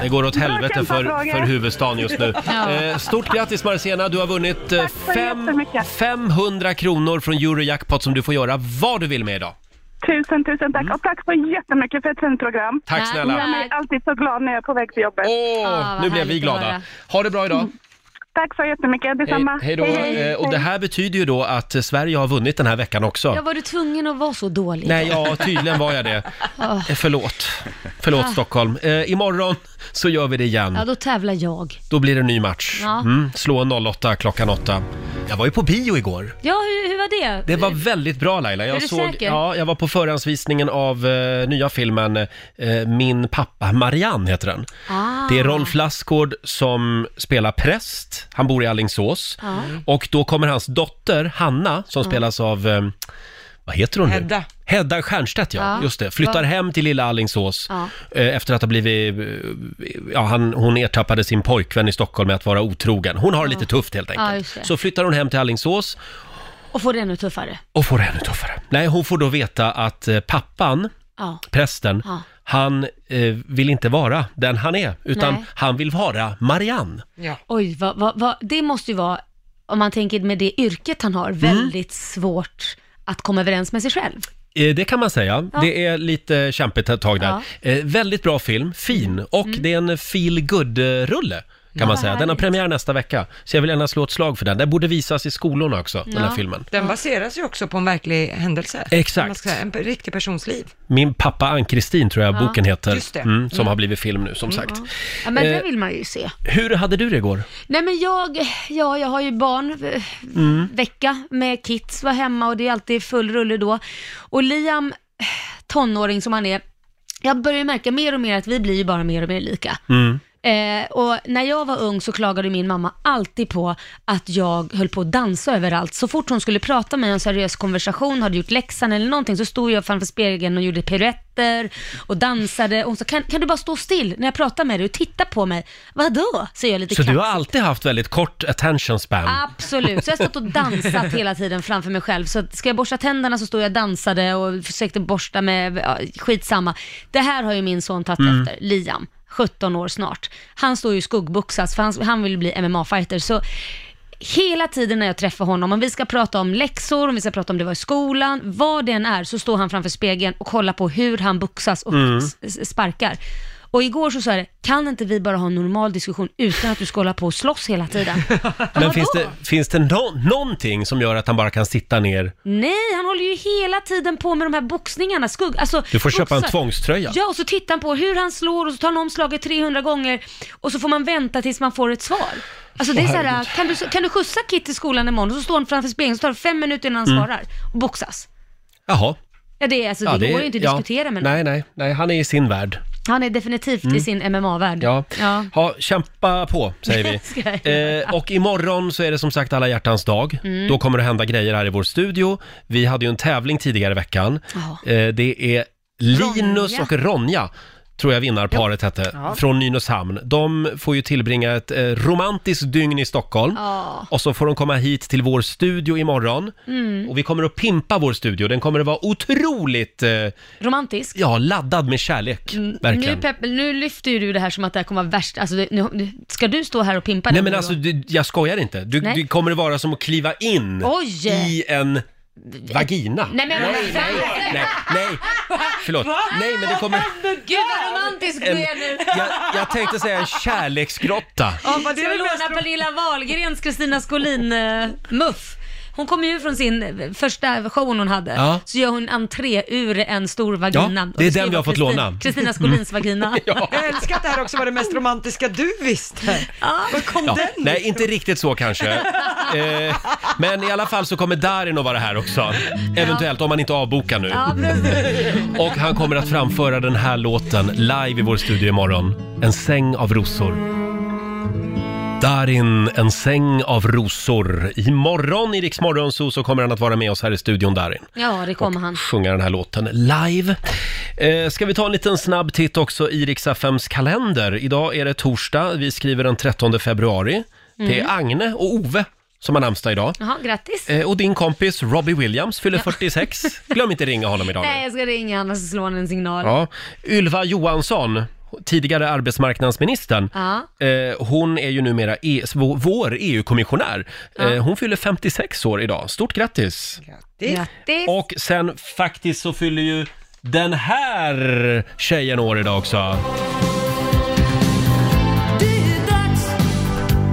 S1: Det går åt helvete för, för huvudstaden just nu.
S6: Ja.
S1: Eh, stort grattis Marcena, du har vunnit eh,
S6: så
S1: fem, 500 kronor från Eurojackpot som du får göra vad du vill med idag.
S7: Tusen, tusen tack. Och tack så jättemycket för ett fint program.
S1: Mm. Tack snälla.
S7: Jag är alltid så glad när jag är på väg till jobbet.
S1: nu blev vi glada. Ha det bra idag.
S7: Tack så jättemycket.
S1: Hej,
S7: Detsamma.
S1: hej då. Eh, och det här betyder ju då att eh, Sverige har vunnit den här veckan också.
S2: Jag var du tvungen att vara så dålig?
S1: Nej, ja, tydligen var jag det.
S2: Ah.
S1: Eh, Förlåt. Förlåt
S2: Ah.
S1: Stockholm. Eh, imorgon så gör vi det igen.
S2: Ja, då tävlar jag.
S1: Då blir det en ny match.
S2: Ja.
S1: Mm, slå en 08 klockan 8. Jag var ju på bio igår.
S2: Ja, hur, hur var det?
S1: Det var väldigt bra Laila.
S2: Är
S1: Jag,
S2: du
S1: såg,
S2: säker?
S1: ja, jag var på förhandsvisningen av eh, nya filmen eh, Min pappa Marianne heter den.
S6: Ah.
S1: Det är Rolf Lassgård som spelar präst. Han bor i Alingsås.
S6: Ja.
S1: Och då kommer hans dotter Hanna som
S6: Ja.
S1: spelas av, eh, vad heter hon nu?
S6: Hedda.
S1: Hedda Stiernstedt ja,
S6: Ja.
S1: just det. Flyttar
S6: Va-
S1: hem till lilla Alingsås
S6: Ja.
S1: eh, efter att ha blivit, eh, ja han, hon ertappade sin pojkvän i Stockholm med att vara otrogen. Hon har det lite tufft helt
S2: Ja,
S1: enkelt.
S2: just det.
S1: Så flyttar hon hem till Alingsås
S2: Och får det ännu tuffare.
S1: och får det ännu tuffare. Nej, hon får då veta att eh, pappan,
S2: Ja.
S1: prästen,
S2: Ja.
S1: han eh, vill inte vara den han är, utan
S2: Nej.
S1: han vill vara Marianne.
S2: Oj, vad, vad, vad, det måste ju vara, om man tänker med det yrket han
S1: Mm.
S2: har, väldigt svårt att komma överens med sig själv.
S1: Eh, det kan man säga.
S2: Ja.
S1: Det är lite kämpigt ett tag där.
S2: Ja.
S1: Eh, väldigt bra film, fin, och det är en feel good eh, rulle kan
S4: Mm.
S1: man
S4: Ja, vad
S1: säga. Den har
S4: härligt.
S1: premiär nästa vecka, så jag vill gärna slå ett slag för den. Den borde visas i skolorna också, den här filmen.
S4: Den baseras ju också på en verklig händelse.
S1: Exakt.
S4: Man ska säga, En riktig persons liv.
S1: Min pappa Ann-Kristin tror jag
S4: Ja,
S1: boken heter,
S4: just det.
S1: Mm, som
S4: Mm.
S1: har blivit film nu som sagt.
S2: Ja, men det
S1: Eh,
S2: vill man ju se.
S1: Hur hade du det igår?
S2: Nej men jag, ja jag har ju barn eh,
S1: Mm.
S2: vecka med kids, var hemma och det är alltid full rulle då. Och Liam, eh, tonåring som han är, jag börjar ju märka mer och mer att vi blir ju bara mer och mer lika.
S6: Mm.
S2: Eh, och när jag var ung så klagade min mamma alltid på att jag höll på att dansa överallt. Så fort hon skulle prata med mig i en seriös konversation, hade gjort läxan eller någonting, så stod jag framför spegeln och gjorde piruetter och dansade. Och hon sa, kan, kan du bara stå still när jag pratar med dig och titta på mig? Vadå? Säger jag lite
S1: Så du har
S2: kaxigt.
S1: alltid haft väldigt kort attention span?
S2: Absolut, så jag har stått och dansat hela tiden framför mig själv. Så att ska jag borsta tänderna så stod jag och dansade och försökte borsta med, ja, skitsamma. Det här har ju min son tagit
S6: Mm.
S2: efter, Liam, 17 år snart. Han står ju i skuggboxas för han, han vill bli MMA-fighter. Så hela tiden när jag träffar honom, om vi ska prata om läxor, om vi ska prata om det var i skolan, vad det än är, så står han framför spegeln och kollar på hur han boxas och
S6: Mm.
S2: s- s- sparkar. Och igår så sa jag det, kan inte vi bara ha en normal diskussion utan att du ska hålla på och slåss hela tiden?
S1: Men finns det, finns det no- någonting som gör att han bara kan sitta ner?
S2: Nej, han håller ju hela tiden på med de här boxningarna. Skugg, alltså,
S1: Du får köpa en
S2: boxar.
S1: tvångströja.
S2: Ja, och så tittar han på hur han slår och så tar han om slaget 300 gånger och så får man vänta tills man får ett svar. Alltså det är
S1: Åh,
S2: så här,
S1: herregud.
S2: kan du, kan du skjutsa Kit till skolan imorgon och så står han framför spegeln så tar det fem minuter innan han
S1: Mm.
S2: svarar och boxas.
S1: Jaha.
S2: Ja, det, är, alltså, det, går ju inte att
S1: ja.
S2: diskutera med någon.
S1: Nej, nej, nej, han är i sin värld.
S2: Han är definitivt
S1: Mm.
S2: i sin MMA-värld.
S1: Ja.
S2: Ja.
S1: Ha, kämpa på, säger vi.
S2: Ska jag göra.
S1: Eh, och imorgon så är det som sagt alla hjärtans dag.
S2: Mm.
S1: Då kommer det hända grejer här i vår studio. Vi hade ju en tävling tidigare i veckan.
S2: Ja.
S1: Eh, det är Linus
S2: Ronja.
S1: och Ronja, tror jag vinnarparet hette,
S2: Ja.
S1: från Nynäshamn. De får ju tillbringa ett eh, romantiskt dygn i Stockholm.
S2: Ja.
S1: Och så får de komma hit till vår studio imorgon.
S2: Mm.
S1: Och vi kommer att pimpa vår studio. Den kommer att vara otroligt, eh,
S2: Romantisk.
S1: ja, laddad med kärlek.
S2: Mm, Nu,
S1: Verkligen.
S2: Pep, nu lyfter ju du det här som att det här kommer vara värst. Alltså, det- nu, nu, ska du stå här och pimpa
S1: Nej
S2: den
S1: men
S2: nu
S1: alltså,
S2: då?
S1: du, jag skojar inte. Du,
S2: Nej.
S1: du kommer att vara som att kliva in
S2: Oj!
S1: i en vagina.
S2: Nej men nej, nej,
S1: nej, nej. Förlåt. Nej men det kommer...
S2: Gud vad romantisk
S1: En,
S2: du är nu.
S1: jag, jag tänkte säga en kärleksgrotta.
S2: Ja, vad det Ska vi låna Pernilla Wahlgrens Kristina Skolin eh, muff? Hon kommer ju från sin eh, första show hon hade,
S1: Ja.
S2: så gör hon entré ur en stor vagina.
S1: det är
S2: Och ska
S1: den vi har
S2: vara
S1: fått
S2: Kristin-
S1: låna. Mm.
S2: Kristina Skolins vagina.
S4: Jag älskar att det här också var det mest romantiska du visste. Var kom
S1: Ja,
S4: den
S1: nej, inte riktigt så kanske. Eh, men i alla fall så kommer Darin att vara här också. Eventuellt, om han inte avbokar nu.
S6: Ja, precis.
S1: Och han kommer att framföra den här låten live i vår studio imorgon. En säng av rosor. Darin, en säng av rosor. Imorgon i Rix Morgonzoo så kommer han att vara med oss här i studion, Darin.
S2: Ja, det kommer han.
S1: Sjunga den här låten live. Eh, ska vi ta en liten snabb titt också i Rix FMs kalender. Idag är det torsdag, vi skriver den 13 februari. Det är
S2: Mm.
S1: Agne och Ove som har namnsdag idag.
S2: Jaha, grattis.
S1: Eh, och din kompis Robbie Williams fyller 46. Glöm inte ringa honom idag. nu.
S2: Nej, jag ska ringa annars slår han en signal.
S1: Ja. Ylva Johansson, tidigare arbetsmarknadsministern,
S2: Ja.
S1: eh, hon är ju numera e- s- vå- vår EU-kommissionär.
S2: Ja.
S1: Eh, hon fyller 56 år idag. Stort grattis!
S2: Grattis.
S1: Och sen faktiskt så fyller ju den här tjejen år idag också.
S6: Det är dags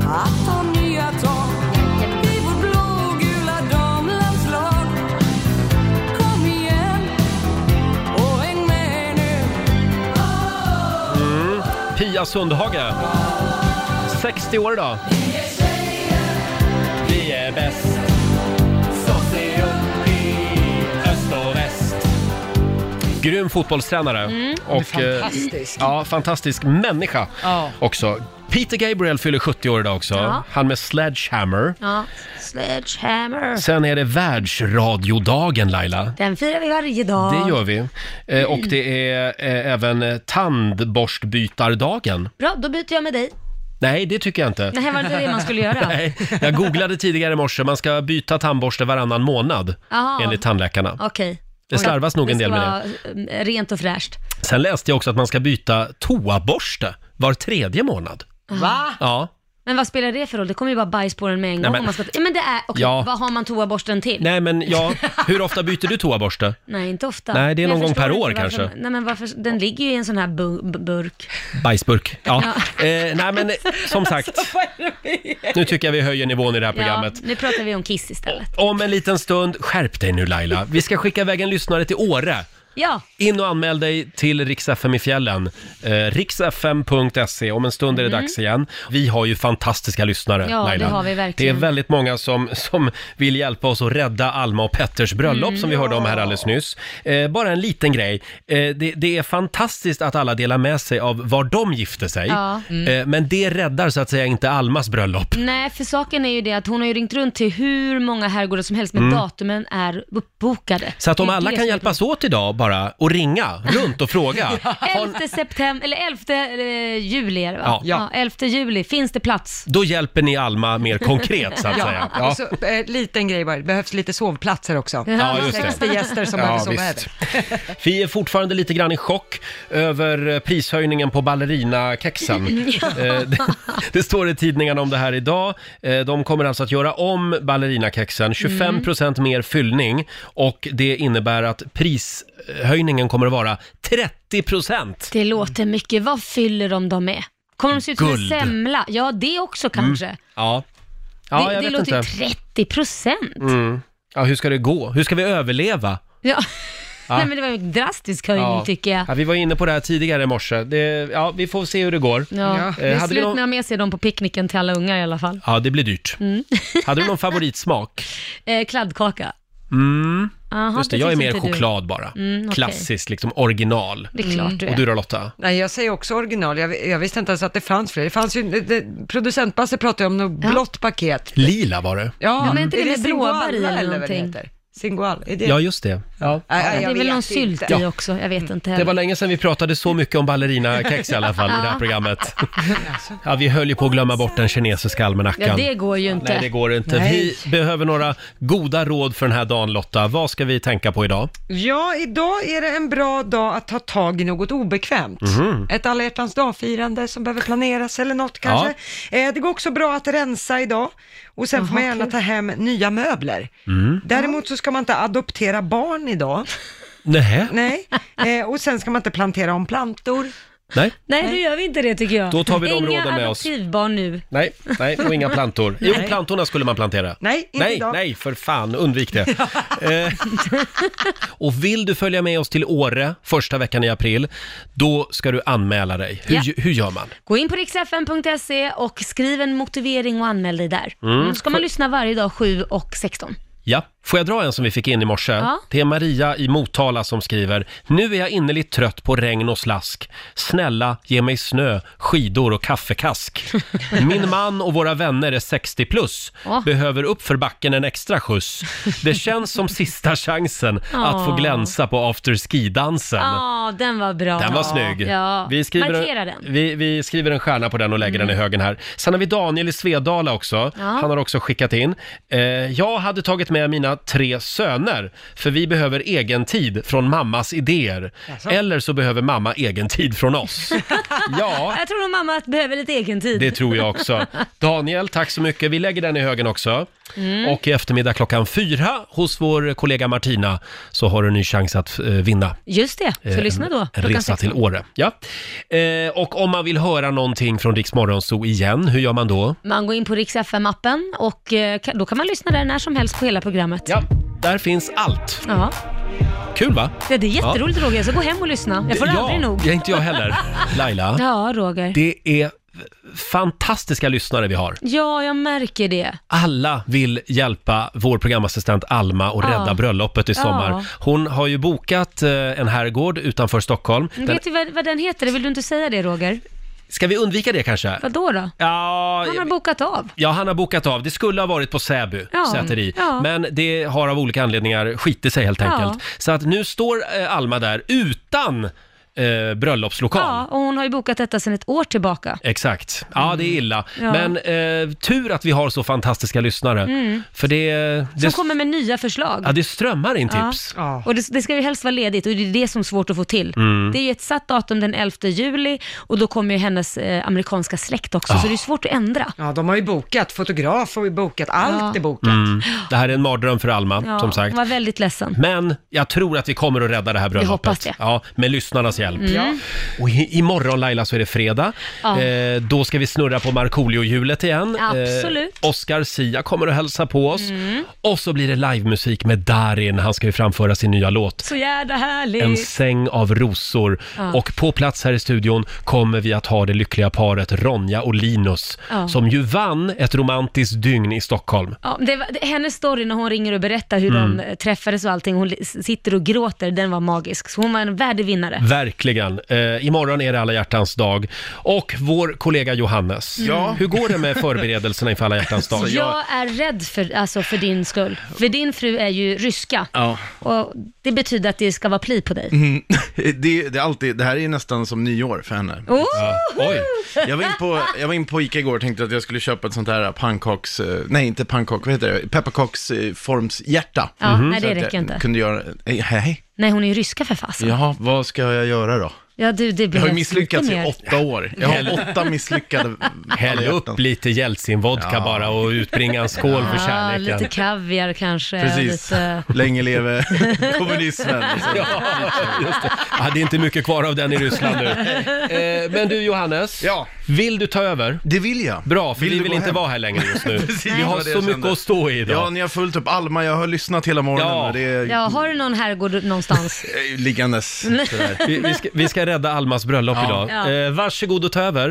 S6: att ta nya tag i vårt blågula damlandslag. Kom igen och häng med nu.
S1: Mm. Pia Sundhage. 60 år idag. Vi är
S13: bäst. Så se upp i öst och väst.
S1: Grym fotbollstränare.
S13: Mm.
S1: Och, eh,
S13: Fantastisk.
S1: ja, fantastisk människa
S2: Ja.
S1: också. Peter Gabriel fyller 70 år idag också.
S2: Ja.
S1: Han med Sledgehammer.
S2: Ja, sledgehammer.
S1: Sen är det världsradiodagen Laila.
S2: Den firar vi varje dag.
S1: Det gör vi. Eh, och det är eh, även eh, tandborstbytardagen.
S2: Bra, då byter jag med dig.
S1: Nej, det tycker jag inte.
S2: Nej, var det inte det man skulle göra?
S1: Nej, jag googlade tidigare i morse. Man ska byta tandborste varannan månad,
S2: Aha.
S1: enligt tandläkarna.
S2: Okej.
S1: Det slarvas nog en del med
S2: det. ska vara, eh, Rent och fräscht.
S1: Sen läste jag också att man ska byta toaborste var tredje månad.
S2: Va?
S1: Ja.
S2: Men vad spelar det för roll? Det kommer ju bara bajs på den med en
S1: Nej,
S2: gång.
S1: men-
S2: om man ska... ja, men det är... Okej,
S1: Ja.
S2: vad har man toaborsten till?
S1: Nej, men ja, hur ofta byter du toaborste?
S2: Nej, inte ofta.
S1: Nej, det är
S2: Men jag
S1: någon gång
S2: förstår
S1: per
S2: inte
S1: år
S2: varför-
S1: kanske.
S2: Nej, men varför? Den ligger ju i en sån här bu- bu- burk.
S1: Bajsburk. Ja. Eh, nej, men eh, som sagt,
S2: Alltså, vad är det med er?
S1: nu tycker jag vi höjer nivån i det här programmet.
S2: Ja, nu pratar vi om kiss istället.
S1: Om en liten stund, skärp dig nu Laila. Vi ska skicka iväg en lyssnare till Åre.
S2: Ja,
S1: In och anmäl dig till Rix FM i fjällen. Eh, Riksfm.se. Om en stund är det
S2: Mm.
S1: dags igen. Vi har ju fantastiska lyssnare,
S2: Ja, det
S1: Laila.
S2: har vi verkligen.
S1: Det är väldigt många som, som vill hjälpa oss att rädda Alma och Petters bröllop
S2: Mm.
S1: som vi hörde om här alldeles nyss. Eh, bara en liten grej. Eh, det, det är fantastiskt att alla delar med sig av var de gifte sig.
S2: Ja. Mm.
S1: Eh, men det räddar så att säga inte Almas bröllop.
S2: nej för saken är ju det att hon har ju ringt runt till hur många herrgårdar som helst men
S1: Mm.
S2: datumen är uppbokade.
S1: Så att om
S2: Det är
S1: alla
S2: det
S1: kan
S2: som är
S1: hjälpas åt idag bara och ringa runt och fråga.
S2: problemet. 11 september, eller 11 eh, juli är det va?
S1: Ja.
S2: ja. 11 juli, finns det plats?
S1: Då hjälper ni Alma mer konkret så att säga.
S4: Ja. Och så, eh, liten grej bara, det behövs lite sovplatser också.
S1: Ja, just
S4: Sex
S1: det.
S4: gäster som
S1: Ja,
S4: behöver sova
S1: visst.
S4: över.
S1: Vi är fortfarande lite grann i chock över eh, prishöjningen på ballerinakexen.
S13: Ja.
S1: Eh, det, det står i tidningarna om det här idag. Eh, De kommer alltså att göra om
S2: Mm.
S1: ballerinakexen, 25% mer fyllning och det innebär att prishöjningen kommer att vara 30%.
S2: Det låter mycket. Vad fyller de dem med? Kommer de se ut som en
S1: Mm. Guld.
S2: semla? Ja, det också kanske.
S1: Mm. Ja, ja
S2: det
S1: jag
S2: det
S1: vet
S2: låter
S1: inte.
S2: ju 30 procent.
S1: Mm. Ja, hur ska det gå? Hur ska vi överleva?
S2: Ja.
S1: Ja.
S2: Nej, men det var ju en drastisk höjning
S1: Ja.
S2: tycker jag.
S1: Ja, vi var inne på det här tidigare i morse. Det, ja, vi får se hur det går.
S2: Ja.
S1: Eh,
S2: Det är
S1: hade vi
S2: slut med
S1: någon...
S2: att ha med sig dem på picknicken till alla ungar i alla fall.
S1: Ja, det blir dyrt.
S2: Mm.
S1: Hade du någon favoritsmak?
S2: Eh, kladdkaka.
S1: Mm.
S2: Aha,
S1: Just det,
S2: det
S1: jag är
S2: tyckte
S1: mer
S2: inte du.
S1: choklad bara.
S4: Mm, okej.
S1: Klassiskt, liksom original. Mm.
S4: Det är klart du är.
S1: Och du då Lotta?
S4: Nej, jag säger också original. Jag, jag visste inte ens att det fanns fler. Det fanns ju, det, det, producentbasse pratade ju om något blått paket.
S1: Lila var det.
S4: Ja,
S2: men inte det med
S4: Singoalla
S2: blåbär i eller
S4: vad det
S2: någonting?
S4: heter? Singoal, är det?
S1: Ja, just det. Ja.
S4: Nej,
S2: det
S4: jag
S2: är väl
S4: vet
S2: någon
S4: inte. Mm.
S2: sylt i
S1: Ja.
S2: också, jag vet inte
S1: Det
S2: heller.
S1: var länge sedan vi pratade så mycket om ballerinakex i alla fall i det här
S2: Ja.
S1: programmet. Ja, vi höll ju på att glömma bort den kinesiska almanackan.
S2: Ja, det går ju inte.
S1: Nej, det går inte. Vi behöver några goda råd för den här dagen Lotta. Vad ska vi tänka på idag?
S4: Ja, idag är det en bra dag att ta tag i något obekvämt.
S1: Mhm.
S4: Ett alla hjärtans dag-firande som behöver planeras eller något kanske. Eh, det går också bra att rensa idag och sen får man gärna ta hem nya möbler.
S13: Mm.
S4: Däremot så ska man inte adoptera barn idag.
S1: Nej.
S4: Nej, eh, och sen ska man inte plantera om plantor.
S1: Nej.
S2: Nej, då gör vi inte det tycker jag.
S1: Då tar vi de
S2: Inga
S1: råden med oss.
S2: adoptivbarn nu.
S1: Nej, nej, och inga plantor. Jo,
S2: Nej.
S1: plantorna skulle man plantera.
S2: Nej, inte
S1: nej,
S2: idag.
S1: nej, för fan, undvik det. Eh, och vill du följa med oss till Åre första veckan i april, då ska du anmäla dig. Hur,
S2: Ja.
S1: hur gör man?
S2: Gå in på riksfn.se och skriv en motivering och anmäl dig där.
S1: Mm.
S2: Mm. Ska man lyssna varje dag 7 och 16.
S1: Ja, får jag dra en som vi fick in i morse?
S2: Ja.
S1: Det är Maria i Motala som skriver. Nu är jag innerligt trött på regn och slask. Snälla, ge mig snö, skidor och kaffekask. Min man och våra vänner är 60 plus.
S13: Åh.
S1: Behöver upp för backen en extra skjuts. Det känns som sista chansen att få
S2: Åh.
S1: glänsa på afterski-dansen.
S2: Ja, den var bra.
S1: Den var
S2: Ja.
S1: snygg.
S2: Ja.
S1: Vi skriver,
S2: Markera
S1: en,
S2: den.
S1: Vi, vi skriver en stjärna på den och lägger
S2: Mm.
S1: den i högen här. Sen har vi Daniel i Svedala också. Han har också skickat in. Eh, jag hade tagit med mina tre söner, för vi behöver egen tid från mammas idéer.
S2: Jaså?
S1: Eller så behöver mamma egen tid från oss. Ja.
S2: Jag tror nog mamma behöver lite egen tid.
S1: Det tror jag också. Daniel, tack så mycket. Vi lägger den i högen också.
S2: Mm.
S1: Och i eftermiddag klockan fyra hos vår kollega Martina så har du en ny chans att eh, vinna.
S2: Just det, så
S1: Eh,
S2: lyssna då.
S1: En
S2: klockan
S1: resa
S2: 16.
S1: till Åre. Ja. Eh, och om man vill höra någonting från Rix Morgonzoo igen, hur gör man då?
S2: Man går in på Rix FM-appen och eh, ka- då kan man lyssna där när som helst på hela programmet.
S1: Ja. Där finns allt.
S2: Ja,
S1: Kul va?
S2: Ja, det är jätteroligt Roger, så gå hem och lyssna. Jag får
S1: ja,
S2: aldrig nog.
S1: Ja, inte jag heller. Laila,
S2: Ja, Roger.
S1: det är fantastiska lyssnare vi har.
S2: Ja, jag märker det.
S1: Alla vill hjälpa vår programassistent Alma att
S2: Ja.
S1: rädda bröllopet i
S2: Ja.
S1: sommar. Hon har ju bokat eh, en herrgård utanför Stockholm.
S2: Men
S1: Den,
S2: Vet du vad, vad den heter? Vill du inte säga det Roger?
S1: ska vi undvika det kanske?
S2: Vadå då?
S1: Ja,
S2: Han har bokat av.
S1: Ja, han har bokat av. Det skulle ha varit på Säby
S2: Ja.
S1: säteri,
S2: Ja.
S1: men det har av olika anledningar skitit sig helt
S2: Ja.
S1: enkelt. Så att nu står eh, Alma där utan eh, bröllopslokal.
S2: Ja, och hon har ju bokat detta sedan ett år tillbaka.
S1: Exakt. Ja, det är illa.
S2: Mm. Ja.
S1: Men eh, tur att vi har så fantastiska lyssnare.
S2: Mm.
S1: För det,
S2: Som
S1: det,
S2: kommer med nya förslag.
S1: ja, det strömmar in
S2: Ja.
S1: tips.
S2: Och det, det ska ju helst vara ledigt och det är det som är svårt att få till.
S1: Mm.
S2: Det är ju ett satt datum den 11 juli och då kommer ju hennes eh, amerikanska släkt också,
S1: Ah.
S2: så det är svårt att ändra.
S4: Ja, de har ju bokat, fotograf har ju bokat, allt
S2: Ja.
S4: är bokat.
S1: Mm. Det här är en mardröm för Alma,
S2: Ja,
S1: som sagt.
S2: Hon var väldigt ledsen.
S1: Men jag tror att vi kommer att rädda det här bröllopet.
S2: hoppas det.
S1: Ja, med lyssnarnas hjälp.
S2: Mm. Ja.
S1: Och i, imorgon Laila så är det fredag.
S2: Ja.
S1: Eh, då ska vi snurra på Markoolio-hjulet igen.
S2: Absolut. Mm.
S1: Eh, Oscar Sia kommer att hälsa på oss. Och så blir det livemusik med Darin. Han ska ju framföra sin nya låt.
S2: Så jävla
S1: En
S2: härligt.
S1: säng av rosor.
S2: Ja.
S1: Och på plats här i studion kommer vi att ha det lyckliga paret Ronja och Linus
S2: Ja.
S1: som ju vann ett romantiskt dygn i Stockholm.
S2: Ja, det var, det, hennes story när hon ringer och berättar hur
S1: Mm.
S2: de eh, träffades och allting, hon li- sitter och gråter, den var magisk. Så hon var en värdig vinnare.
S14: Mm.
S1: Verkligen. Eh, imorgon är det alla hjärtans dag. Och vår kollega Johannes,
S14: Mm.
S2: Ja.
S1: hur går det med förberedelserna inför alla hjärtans dag?
S2: jag är rädd för, alltså, för din skull. För din fru är ju ryska.
S14: Ja.
S2: Och det betyder att det ska vara pli på dig.
S14: Mm, det, det, är alltid, det här är nästan som nyår för henne.
S2: Oh!
S1: Oj.
S14: Jag var in på, jag var in på Ica igår och tänkte att jag skulle köpa ett sånt här pannkaks, eh, nej inte pannkak, vad heter det, pepparkaksformshjärta.
S2: Ja, Mhm. nej, det
S14: Så att jag
S2: räcker inte.
S14: Kunde göra, nej, hej,
S2: Nej, hon är ju ryska för fasen. Ja.
S14: jaha, vad ska jag göra då?
S2: du, det
S14: Jag
S2: blir
S14: har ju
S2: helst
S14: misslyckats
S2: lite
S14: i
S2: mer.
S14: åtta år. Jag har åtta misslyckade
S1: Häll upp lite Jeltsin-vodka bara och utbringa en skål för
S2: Ja,
S1: kärleken.
S2: lite kaviar kanske.
S1: Precis.
S2: Lite...
S14: Länge leve kommunismen.
S1: Ja, just det. Ja, det är inte mycket kvar av den i Ryssland nu. Eh, men du Johannes, vill du ta över?
S14: Det vill jag.
S1: Bra, för vi
S14: du
S1: vill
S14: gå
S1: inte
S14: hem?
S1: vara här längre just nu.
S14: Precis,
S1: vi
S14: det
S1: har
S14: var det jag
S1: så mycket
S14: kände.
S1: att stå i
S14: Ja,
S1: idag.
S14: ni har fullt upp. Alma, jag har lyssnat hela morgonen
S1: Ja.
S14: och det är
S2: Ja, har du någon herrgård någonstans?
S14: eh, liggandes. sådär.
S1: Vi, vi, ska, vi ska rädda Almas bröllop
S14: Ja.
S1: idag.
S2: Ja.
S1: Eh, varsågod och ta över.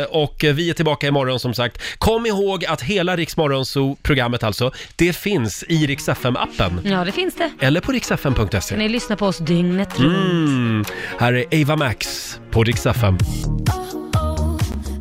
S1: eh, och eh, vi är tillbaka imorgon som sagt. Kom ihåg att hela Riksmorgonzoo-programmet alltså, det finns i Rix FM-appen.
S2: Ja, det finns det.
S1: Eller på riksfm.se.
S2: Kan ni lyssna på oss dygnet runt?
S1: Mm. Här är Ava Max på Rix FM.